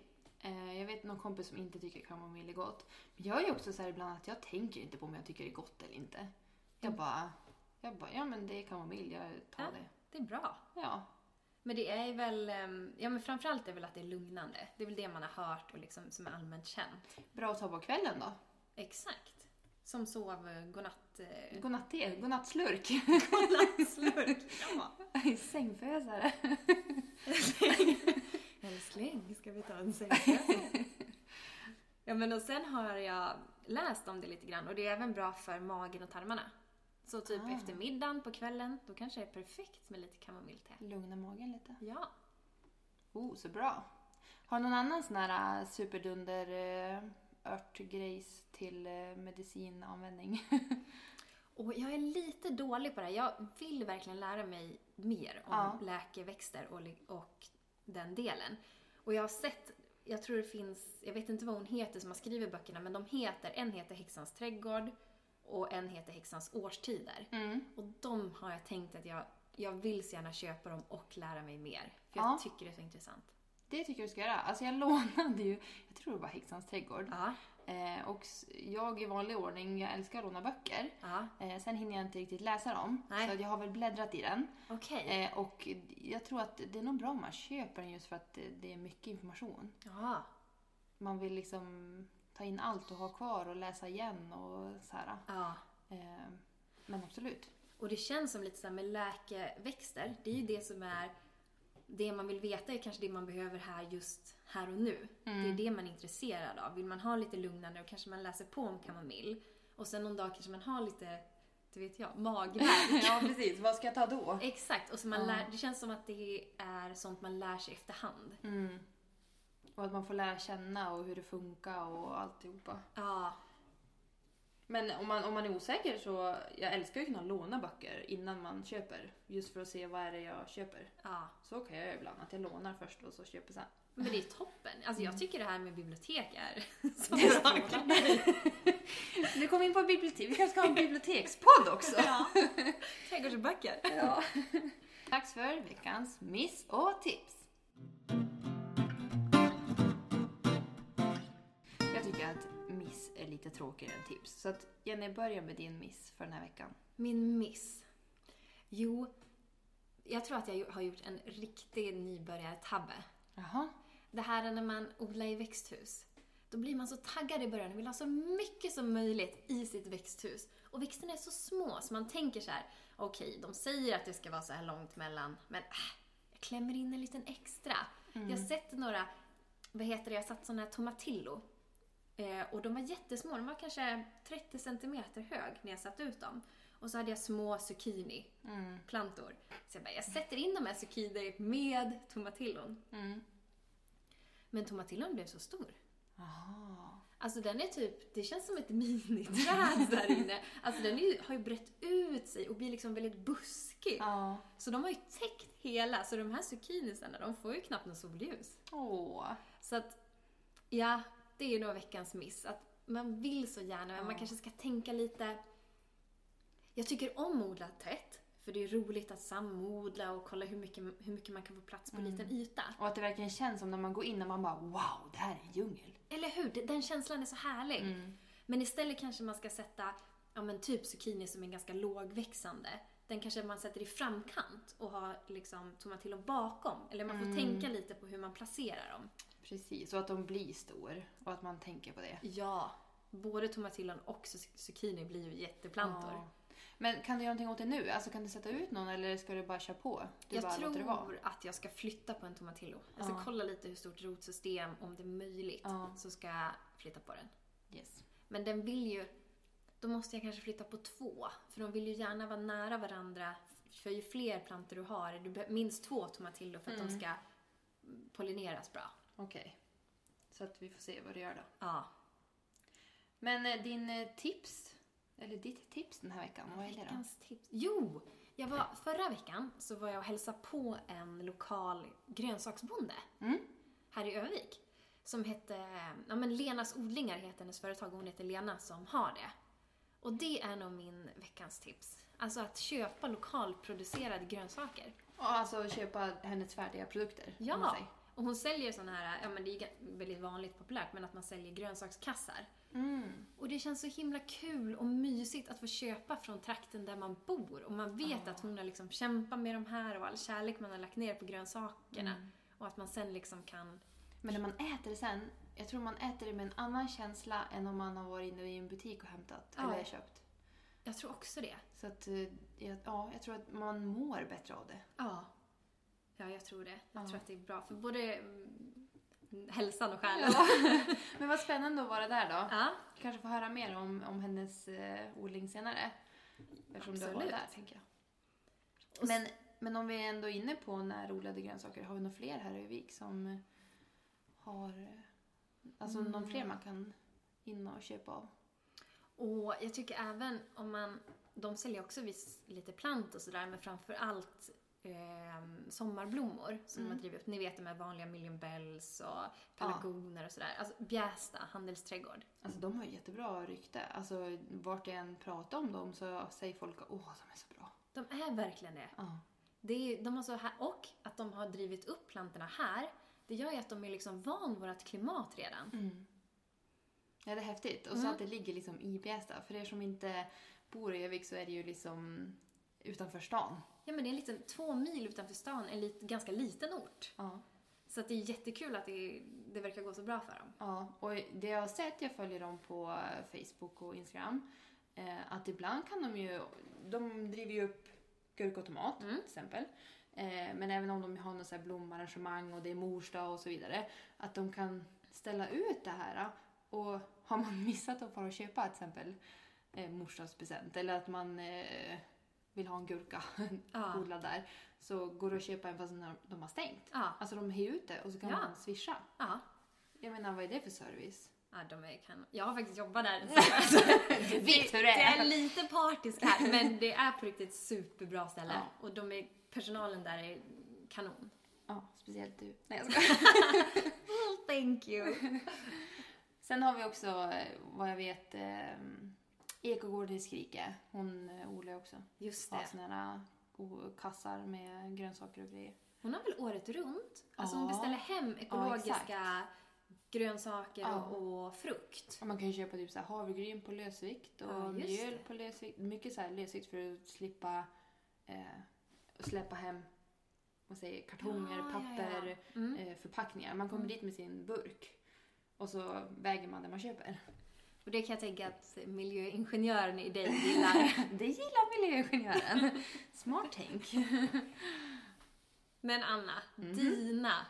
A: Eh, Jag vet någon kompis som inte tycker kamomill är gott. Men jag är ju också så här ibland att jag tänker inte på om jag tycker det är gott eller inte. Jag bara, jag bara ja men det är kamomill, jag tar
B: Ja,
A: det.
B: Det är bra.
A: Ja.
B: Men det är väl, ehm, ja men framförallt är väl att det är lugnande. Det är väl det man har hört och liksom som är allmänt känt.
A: Bra att ta på kvällen då.
B: Exakt. Som sov, eh, godnatt... Eh,
A: Godnatt-te, godnattslurk.
B: godnattslurk. ja.
A: Sängfösare.
B: Älskling, ska vi ta en selfie? ja, men och sen har jag läst om det lite grann och det är även bra för magen och tarmarna. Så typ
A: Ah.
B: efter middagen på kvällen, då kanske det är perfekt med lite kamomillte.
A: Lugna magen lite.
B: Ja.
A: Oh, så bra. Har du någon annan sån här eh, superdunder eh, örtgrejs till eh, medicinanvändning?
B: Och jag är lite dålig på det här. Jag vill verkligen lära mig mer om
A: Ja.
B: läkeväxter och, li- och den delen. Och jag har sett, jag tror det finns, jag vet inte vad hon heter som har skrivit böckerna, men de heter, en heter Häxans trädgård och en heter Häxans årstider.
A: Mm.
B: Och de har jag tänkt att jag, jag vill så gärna köpa dem och lära mig mer. För jag
A: Ja.
B: tycker det är så intressant.
A: Det tycker jag du ska göra. Alltså jag lånade ju, jag tror det var Häxans trädgård.
B: Ja,
A: Eh, och s- jag i vanlig ordning, jag älskar att låna böcker.
B: ja,
A: Eh, sen hinner jag inte riktigt läsa dem,
B: Nej.
A: så att jag har väl bläddrat i den.
B: okej.
A: Eh, och jag tror att det är nog bra om man köper den just för att eh, det är mycket information.
B: Ja,
A: Man vill liksom ta in allt och ha kvar och läsa igen och så här.
B: ja.
A: Eh, men absolut.
B: Och det känns som lite så här med läkeväxter, det är ju det som är det man vill veta är kanske det man behöver här just här och nu. Det
A: Mm.
B: är det man är intresserad av. Vill man ha lite lugnande och kanske man läser på om kamomill. Och sen någon dag kanske man har lite, det vet jag, magvärk.
A: ja precis, vad ska jag ta då?
B: Exakt, och så man lär, det känns som att det är sånt man lär sig efterhand.
A: Mm. Och att man får lära känna och hur det funkar och alltihopa.
B: Ja,
A: Men om man, om man är osäker så, jag älskar ju att kunna låna böcker innan man köper. Just för att se vad är det jag köper.
B: ja.
A: Så kan jag göra ibland, att jag lånar först och så köper sen.
B: Men det är toppen. Alltså jag tycker det här med bibliotek är så
A: Det är
B: bra.
A: så Nu kom vi in på bibliotek, vi kanske ska ha en bibliotekspodd också.
B: Ja. Trädgårdsböcker.
A: Ja. Dags för veckans miss och tips. Jag tycker att miss är lite tråkigare än tips. Så att Jenny, börja med din miss för den här veckan.
B: Min miss? Jo, jag tror att jag ju- har gjort en riktig nybörjartabbe.
A: Jaha.
B: Det här är när man odlar i växthus. Då Då blir man så taggad i början och vill ha så mycket som möjligt i sitt växthus. Och växterna är så små så man tänker så här: okej, de säger att det ska vara så här långt mellan, men äh, jag klämmer in en liten extra. Jag har sett några, vad heter det, jag har satt såna här tomatillo. Eh, och de var jättesmå, de var kanske 30 centimeter hög när jag satte ut dem. Och så hade jag små zucchini
A: Mm.
B: plantor. Så jag bara, jag sätter in de här zucchini med tomatillon.
A: Mm.
B: Men tomatillon blev så stor.
A: Aha.
B: Alltså den är typ, det känns som ett miniträd där inne. Alltså den är ju, har ju brett ut sig och blir liksom väldigt buskig.
A: Ja.
B: Så de har ju täckt hela, så de här zucchinisarna de får ju knappt något solljus.
A: Åh.
B: Så att, ja, det är ju då veckans miss. Att man vill så gärna, men man
A: Ja.
B: kanske ska tänka lite... Jag tycker om odla tätt, för det är roligt att samodla och kolla hur mycket, hur mycket man kan få plats på
A: Mm.
B: liten yta.
A: Och att det verkligen känns som när man går in och man bara wow, det här är en djungel.
B: Eller hur? Det- Den känslan är så härlig.
A: Mm.
B: Men istället kanske man ska sätta, ja men typ zucchini som är ganska lågväxande. Den kanske man sätter i framkant och har liksom tomatillon bakom. Eller man får
A: Mm.
B: tänka lite på hur man placerar dem.
A: Precis, och att de blir stor och att man tänker på det.
B: Ja, både tomatillon och zuc- zucchini blir ju jätteplantor.
A: Ja. Men kan du göra någonting åt det nu? Alltså kan du sätta ut någon eller ska du bara köra på? Du
B: jag
A: bara låter det vara?
B: tror att jag ska flytta på en tomatillo. Jag ska
A: Ja.
B: kolla lite hur stort rotsystem, om det är möjligt,
A: Ja.
B: så ska jag flytta på den.
A: Yes.
B: Men den vill ju... Då måste jag kanske flytta på två. För de vill ju gärna vara nära varandra. För ju fler plantor du har, du behöver minst två tomatillo för att
A: Mm.
B: de ska pollineras bra.
A: Okej. Så att vi får se vad du gör då.
B: Ja.
A: Men eh, din eh, tips, eller ditt tips den här veckan, vad är det då?
B: Veckans tips. Jo! Jag var, förra veckan så var jag och hälsade på en lokal grönsaksbonde
A: Mm.
B: här i Övik. Som hette, ja men Lenas odlingar heter hennes företag och hon heter Lena som har det. Och det är nog min veckans tips. Alltså att köpa lokalproducerade grönsaker.
A: Och alltså köpa hennes färdiga produkter. om man
B: Ja,
A: säger.
B: och hon säljer sådana här, ja men det är ju ga- väldigt vanligt populärt, men att man säljer grönsakskassar.
A: Mm.
B: Och det känns så himla kul och mysigt att få köpa från trakten där man bor. Och man vet att hon har liksom kämpat med de här och all kärlek man har lagt ner på grönsakerna. Och att man sen liksom kan...
A: Men när man äter det sen, jag tror man äter det med en annan känsla än om man har varit inne i en butik och hämtat
B: Ja.
A: eller köpt.
B: Jag tror också det.
A: Så att, eh, jag- ja, jag tror att man mår bättre av det.
B: Ja. Ja, jag tror det. Jag
A: Ja.
B: tror att det är bra för både mm, hälsan och själen. Ja.
A: Ja. Men vad spännande att vara där då. Kanske få höra mer om, om hennes eh, odling senare. Eftersom du har varit
B: Absolut.
A: där, tänker jag.
B: Och
A: Men, men om vi är ändå inne på närodlade grönsaker, har vi några fler här i Vik som eh, har... eh, Alltså någon fler man kan in och köpa av?
B: Och jag tycker även om man, de säljer också viss, lite plant och sådär, men framför allt ehm, sommarblommor som de har drivit upp. Ni vet de här vanliga million bells och pelargoner och sådär. Alltså Bjästa handelsträdgård.
A: Alltså de har ju jättebra rykte. Alltså vart jag än pratar om dem så säger folk åh de är så bra.
B: De är verkligen det.
A: Ja.
B: det är, de har så här, och att de har drivit upp plantorna här, det gör ju att de är liksom van vårt klimat redan.
A: Mm. Ja, det är häftigt. Och så att det ligger liksom i Bjästa. För er som inte bor i Övik så är det ju liksom utanför stan.
B: Ja men det är en liten, två mil utanför stan, en lit, ganska liten ort.
A: Ja.
B: Så att det är jättekul att det, det verkar gå så bra för dem.
A: Ja, och det jag har sett, jag följer dem på eh, Facebook och Instagram, eh, att ibland kan de ju, de driver ju upp gurka och tomat
B: Mm.
A: till exempel. Eh, men även om de har något så här blomarrangemang och det är mors dag och så vidare, att de kan ställa ut det här. eh, Och har man missat att fara och köpa till exempel eh, morsdagspresent eller att man eh, vill ha en gurka
B: Ja.
A: odlad där, så går det att köpa en fast när de har stängt.
B: Ja.
A: Alltså de hyr ut det och så kan
B: Ja.
A: man swisha.
B: Ja.
A: Jag menar, vad är det för service?
B: Ja, de är kanon. Jag har faktiskt jobbat där. Alltså,
A: Du
B: det är lite partiskt här, men det är på riktigt ett superbra ställe.
A: Ja.
B: Och de är, personalen där är kanon.
A: Ja, speciellt du. Nej, jag skojar.
B: Oh, thank you!
A: Sen har vi också, eh, vad jag vet, eh, Ekogården i Skrike. Hon eh, odlar ju också.
B: Just
A: Har
B: det.
A: såna här eh, o- kassar med grönsaker och grejer.
B: Hon har väl året runt? Alltså hon
A: Ja.
B: beställer hem ekologiska
A: exakt.
B: grönsaker
A: Ja.
B: och, och frukt.
A: Och man kan ju köpa typ så här havregryn på lösvikt och
B: Ja, just
A: mjöl
B: det.
A: på lösvikt. Mycket så här lösvikt för att slippa eh, släppa hem vad säger, jag, kartonger,
B: Ja, Mm. ja, ja.
A: papper,
B: Mm.
A: Eh, förpackningar. Man kommer dit med sin burk. Och så väger man det man köper.
B: Och det kan jag tänka att miljöingenjören i dig gillar.
A: Det gillar miljöingenjören. Smart tänk.
B: Men Anna,
A: Mhm.
B: dina.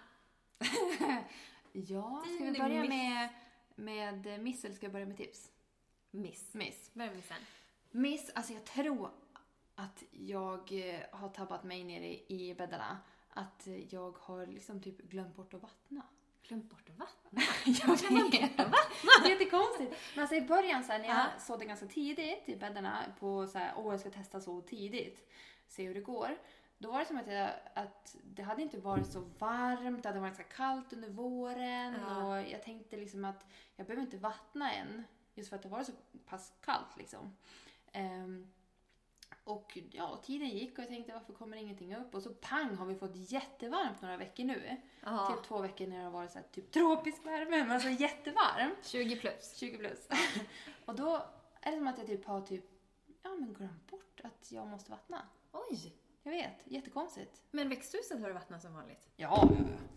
A: Ja, ska
B: Din
A: vi börja
B: miss.
A: med, med eh, miss eller ska jag börja med tips?
B: Miss.
A: Miss.
B: Vad är missen?
A: Miss, alltså jag tror att jag eh, har tappat mig nere i- i bäddarna. Att eh, jag har liksom typ glömt bort att vattna.
B: Glömt bort vattnet.
A: Jag vet. Det är jättekonstigt. Men alltså i början så här, när jag
B: Ja.
A: sådde ganska tidigt i bäddarna på så här, åh jag ska testa så tidigt, se hur det går. Då var det som att, jag, att det hade inte varit så varmt, det hade varit ganska kallt under våren
B: Ja.
A: och jag tänkte liksom att jag behöver inte vattna än. Just för att det var så pass kallt liksom. Ehm, och ja, tiden gick och jag tänkte varför kommer ingenting upp? Och så pang har vi fått jättevarmt några veckor nu.
B: Ja.
A: Typ två veckor när det har varit så här, typ tropisk värme, men alltså jättevarmt.
B: 20 plus.
A: 20 plus. och då är det som att jag typ har typ, ja men glömt bort att jag måste vattna.
B: Oj!
A: Jag vet, jättekonstigt.
B: Men växthuset har du vattnat som vanligt.
A: Ja,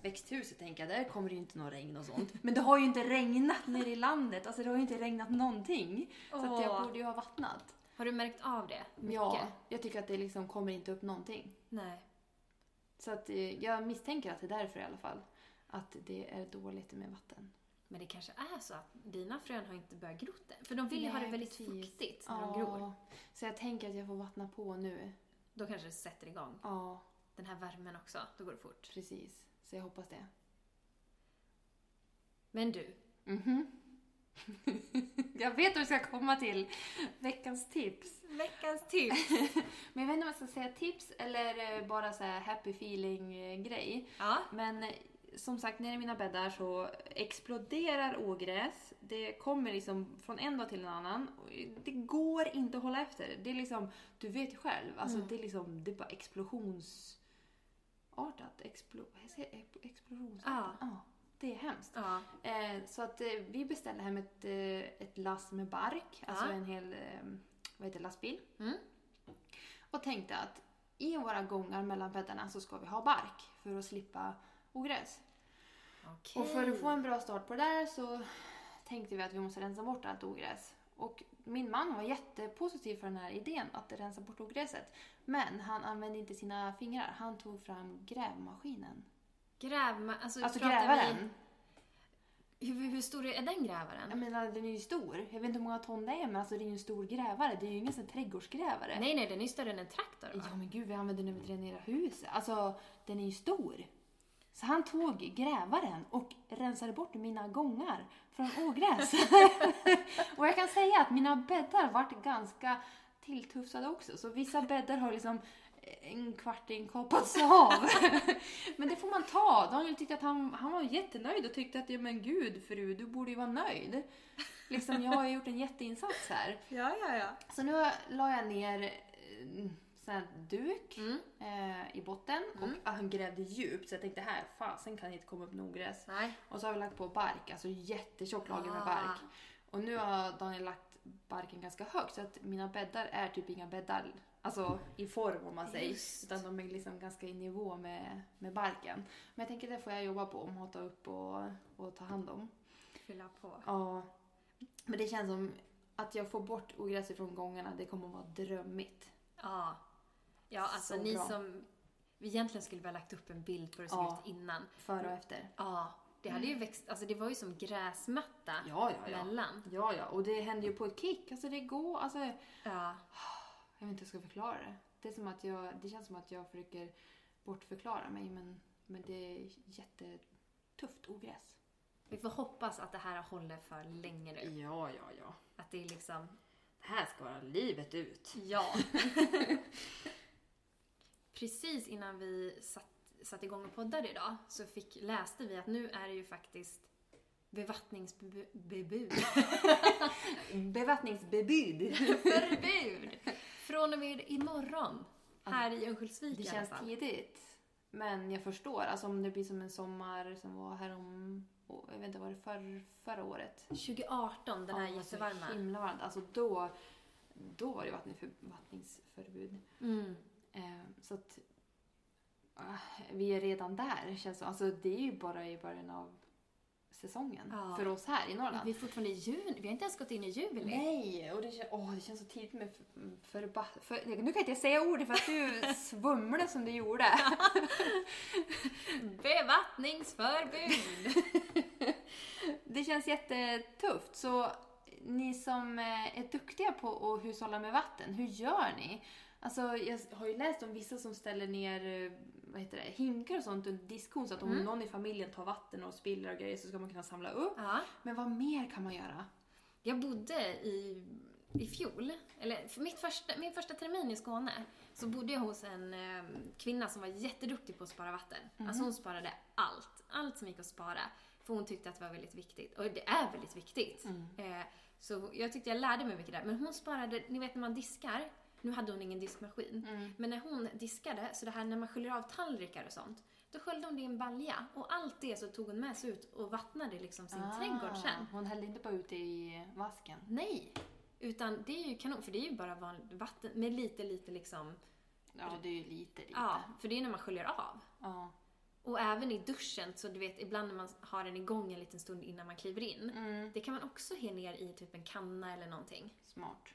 A: växthuset tänker jag, där kommer det ju inte någon regn och sånt. Men det har ju inte regnat nere i landet, alltså det har ju inte regnat någonting. Så att jag
B: Åh.
A: borde ju ha vattnat.
B: Har du märkt av det? Mycket?
A: Ja, jag tycker att det liksom kommer inte upp någonting.
B: Nej.
A: Så att eh, jag misstänker att det är därför i alla fall. Att det är dåligt med vatten.
B: Men det kanske är så att dina frön har inte börjat grott än. För de vill ju ha det
A: Nej,
B: väldigt
A: precis.
B: fuktigt när de gror.
A: Så jag tänker att jag får vattna på nu.
B: Då kanske det sätter igång.
A: Ja,
B: Den här värmen också, då går det fort.
A: precis. Så jag hoppas det.
B: Men du,
A: Mhm. jag vet hur vi ska komma till veckans tips.
B: veckans tips!
A: Men jag vet inte om jag ska säga tips eller eh, bara så här happy feeling-grej.
B: ja.
A: Men eh, som sagt, nere i mina bäddar så exploderar ogräs. Det kommer liksom från en dag till en annan. Och Det går inte att hålla efter. Det är liksom, du vet ju själv, alltså
B: Mm.
A: det är liksom, det är bara explosionsartat. Explo, vad säger jag? Ex- explosionsartat. Ja, det är hemskt.
B: ja.
A: Eh, så att eh, vi beställde hem ett, eh, ett lass med bark, alltså
B: Ja.
A: en hel eh, vad heter, det, lastbil.
B: Mm.
A: Och tänkte att i våra gångar mellan bäddarna så ska vi ha bark för att slippa ogräs.
B: Okej.
A: Och för att få en bra start på det där så tänkte vi att vi måste rensa bort allt ogräs. Och min man var jättepositiv för den här idén att rensa bort ogräset. Men han använde inte sina fingrar, han tog fram grävmaskinen.
B: Grävma... Alltså,
A: Alltså
B: pratar
A: grävaren.
B: Vi, hur, hur stor är den grävaren?
A: Jag menar, den är ju stor. Jag vet inte hur många ton det är, men alltså, det är ju en stor grävare. Det är ju ingen sån trädgårdsgrävare.
B: Nej, nej, den är ju större än en traktor va?
A: Ja, men gud, vi använder den när vi dränerar huset. Alltså, den är ju stor. Så han tog grävaren och rensade bort mina gångar från ogräs. och jag kan säga att mina bäddar vart ganska tilltufsade också. Så vissa bäddar har liksom en kvart inkoppats av. men det får man ta. Daniel tyckte att han, han var jättenöjd och tyckte att ja men gud fru, du borde ju vara nöjd. Liksom, jag har ju gjort en jätteinsats här.
B: ja, ja. ja.
A: Så nu la jag ner eh, sån här duk
B: Mm.
A: eh, i botten och han grävde djupt så jag tänkte här, fasen kan det inte komma upp något ogräs.
B: Nej.
A: Och så har vi lagt på bark, alltså jättetjock lager med
B: Ah.
A: bark. Och nu har Daniel lagt barken ganska högt så att mina bäddar är typ inga bäddar alltså i form om man säger.
B: Just.
A: Utan de är liksom ganska i nivå med, med barken. Men jag tänker det får jag jobba på, om hata upp och, och ta hand om.
B: Fylla på.
A: Ja. Men det känns som att jag får bort ogräset från gångarna, det kommer att vara drömmigt.
B: Ja. Ja, alltså
A: Så
B: ni
A: bra.
B: som... Vi egentligen skulle vi ha lagt upp en bild på hur det såg
A: Ja.
B: ut innan.
A: Före och efter.
B: Ja. Det hade ju växt... Alltså det var ju som gräsmatta
A: Mm. Ja, ja, ja.
B: mellan.
A: Ja, ja. Och det händer ju på ett kick. Alltså det går, alltså... Jag
B: Ja.
A: vet inte hur jag ska förklara det. Det, är som att jag, det känns som att jag försöker bortförklara mig, men, men det är jättetufft ogräs.
B: Vi får hoppas att det här håller för länge nu.
A: Ja, ja, ja.
B: Att det är liksom...
A: Det här ska vara livet ut.
B: Ja. Precis innan vi satt, satt igång och poddade idag så fick, läste vi att nu är det ju faktiskt bevattningsbebud.
A: Bevattningsbebud.
B: Förbud! Från och med imorgon. Här i Örnsköldsvik
A: Det
B: i alla
A: känns
B: fall.
A: tidigt. Men jag förstår. Alltså om det blir som en sommar som var härom... åh, Jag vet inte, var det för, förra året?
B: 2018, den här
A: Ja, det var så
B: jättevarma.
A: himla varmt. Alltså då, då var det vattningsförbud.
B: Mm.
A: Eh, så att ah, vi är redan där känns det som. Alltså det är ju bara i början av säsongen
B: Ja.
A: för oss här i Norrland.
B: Vi är fortfarande i juni. Vi har inte ens gått in i juli.
A: Nej, och det, kän- åh, det känns så tidigt med f- förba- för, Nu kan jag inte säga ordet för att du svumlade som du gjorde.
B: Bevattningsförbud!
A: Det känns jättetufft. Så ni som eh, är duktiga på att hushålla med vatten, hur gör ni? Alltså, jag har ju läst om vissa som ställer ner eh, vad heter det, hinkar och sånt under diskon så att om
B: Mm.
A: någon i familjen tar vatten och spiller och grejer så ska man kunna samla upp.
B: ja.
A: Men vad mer kan man göra?
B: Jag bodde i, i fjol, eller för mitt första, min första termin i Skåne, så bodde jag hos en eh, kvinna som var jätteduktig på att spara vatten. Alltså hon sparade allt, allt som gick att spara. För hon tyckte att det var väldigt viktigt, och det är väldigt viktigt. Eh, så jag tyckte jag lärde mig mycket där. Men hon sparade, ni vet när man diskar, nu hade hon ingen diskmaskin,
A: Mm.
B: men när hon diskade, så det här när man sköljer av tallrikar och sånt, då sköljde hon det i en balja och allt det så tog hon med sig ut och vattnade liksom sin
A: Ah.
B: trädgård sen.
A: Hon hällde inte bara ut det i vasken.
B: Nej! Utan det är ju kanon, för det är ju bara vanligt vatten med lite, lite liksom...
A: Ja, det är ju lite, lite.
B: Ja, för det är när man sköljer av.
A: Ja.
B: Och även i duschen, så du vet ibland när man har den igång en liten stund innan man kliver in.
A: Mm.
B: Det kan man också he ner i typ en kanna eller någonting.
A: Smart.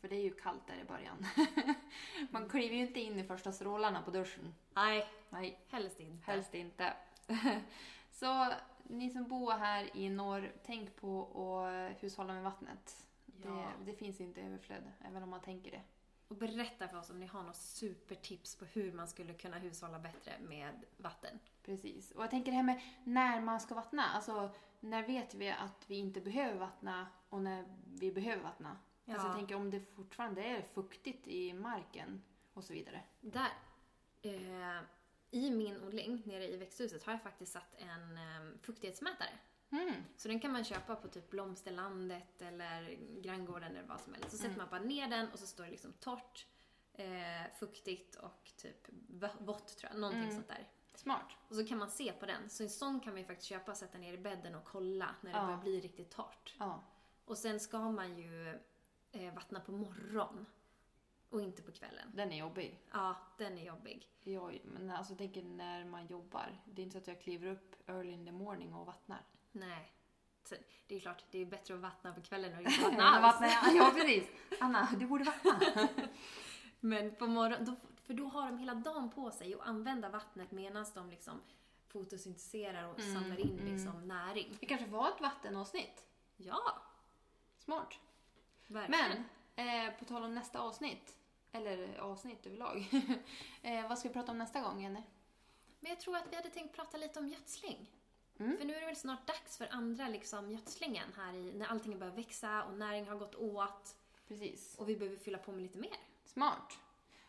A: För det är ju kallt där i början. Man kliver ju inte in i första strålarna på duschen.
B: Nej,
A: Nej,
B: helst inte.
A: helst inte. Så ni som bor här i norr, tänk på att hushålla med vattnet.
B: Ja.
A: Det, det finns inte överflöd, även om man tänker det.
B: Och berätta för oss om ni har något supertips på hur man skulle kunna hushålla bättre med vatten.
A: Precis. Och jag tänker det här med när man ska vattna. Alltså, när vet vi att vi inte behöver vattna och när vi behöver vattna? Alltså,
B: Ja.
A: jag tänker om det fortfarande är fuktigt i marken och så vidare.
B: Där. Eh, I min odling nere i växthuset har jag faktiskt satt en eh, fuktighetsmätare.
A: Mm.
B: Så den kan man köpa på typ Blomsterlandet eller Granngården eller vad som helst. Så
A: Mm.
B: sätter man bara ner den och så står det liksom torrt, eh, fuktigt och typ v- vått tror jag. Någonting
A: Mm.
B: sånt där.
A: Smart.
B: Och så kan man se på den. Så en sån kan man ju faktiskt köpa och sätta ner i bädden och kolla när det
A: Ja.
B: börjar bli riktigt torrt.
A: Ja.
B: Och sen ska man ju eh, vattna på morgon och inte på kvällen.
A: Den är jobbig.
B: Ja, den är jobbig.
A: Jag, men alltså, jag tänker när man jobbar. Det är inte så att jag kliver upp early in the morning och vattnar.
B: Nej. Så det är klart, det är bättre att vattna på kvällen och inte vattna alls.
A: ja, precis. Anna, du borde vattna.
B: Men på morgonen, då, för då har de hela dagen på sig att använda vattnet medan de liksom fotosyntiserar och
A: Mm,
B: samlar in liksom näring.
A: Det kanske var ett vattenavsnitt.
B: Ja,
A: Smart.
B: verkligen.
A: Men, eh, på tal om nästa avsnitt. Eller avsnitt överlag. eh, vad ska vi prata om nästa gång, Jenny?
B: Men jag tror att vi hade tänkt prata lite om gödsling.
A: Mm.
B: För nu är det väl snart dags för andra liksom, gödslingen här i, när allting börjar växa och näring har gått åt
A: Precis.
B: och vi behöver fylla på med lite mer.
A: Smart.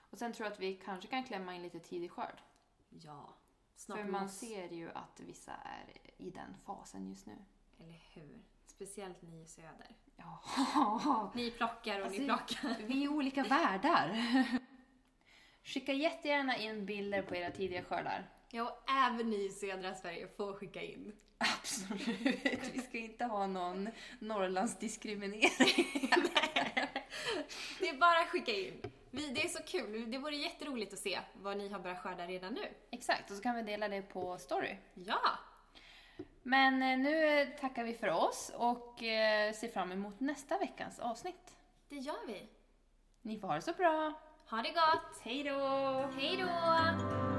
A: Och sen tror jag att vi kanske kan klämma in lite tidig skörd.
B: Ja, snart
A: För man
B: måste-
A: ser ju att vissa är i den fasen just nu.
B: Eller hur? Speciellt ni i söder.
A: Ja.
B: Ni plockar och ni
A: Alltså,
B: plockar.
A: Vi är olika världar. Skicka jättegärna in bilder på era tidiga skördar.
B: Ja, och även ni i södra Sverige får skicka in.
A: Absolut. Vi ska inte ha någon Norrlandsdiskriminering.
B: Det är bara att skicka in. Vi, det är så kul. Det vore jätteroligt att se vad ni har börjat skörda redan nu.
A: Exakt, och så kan vi dela det på story.
B: Ja!
A: Men eh, nu tackar vi för oss och eh, ser fram emot nästa veckans avsnitt.
B: Det gör vi.
A: Ni får ha det så bra.
B: Ha det gott!
A: Hej då!
B: Hej då!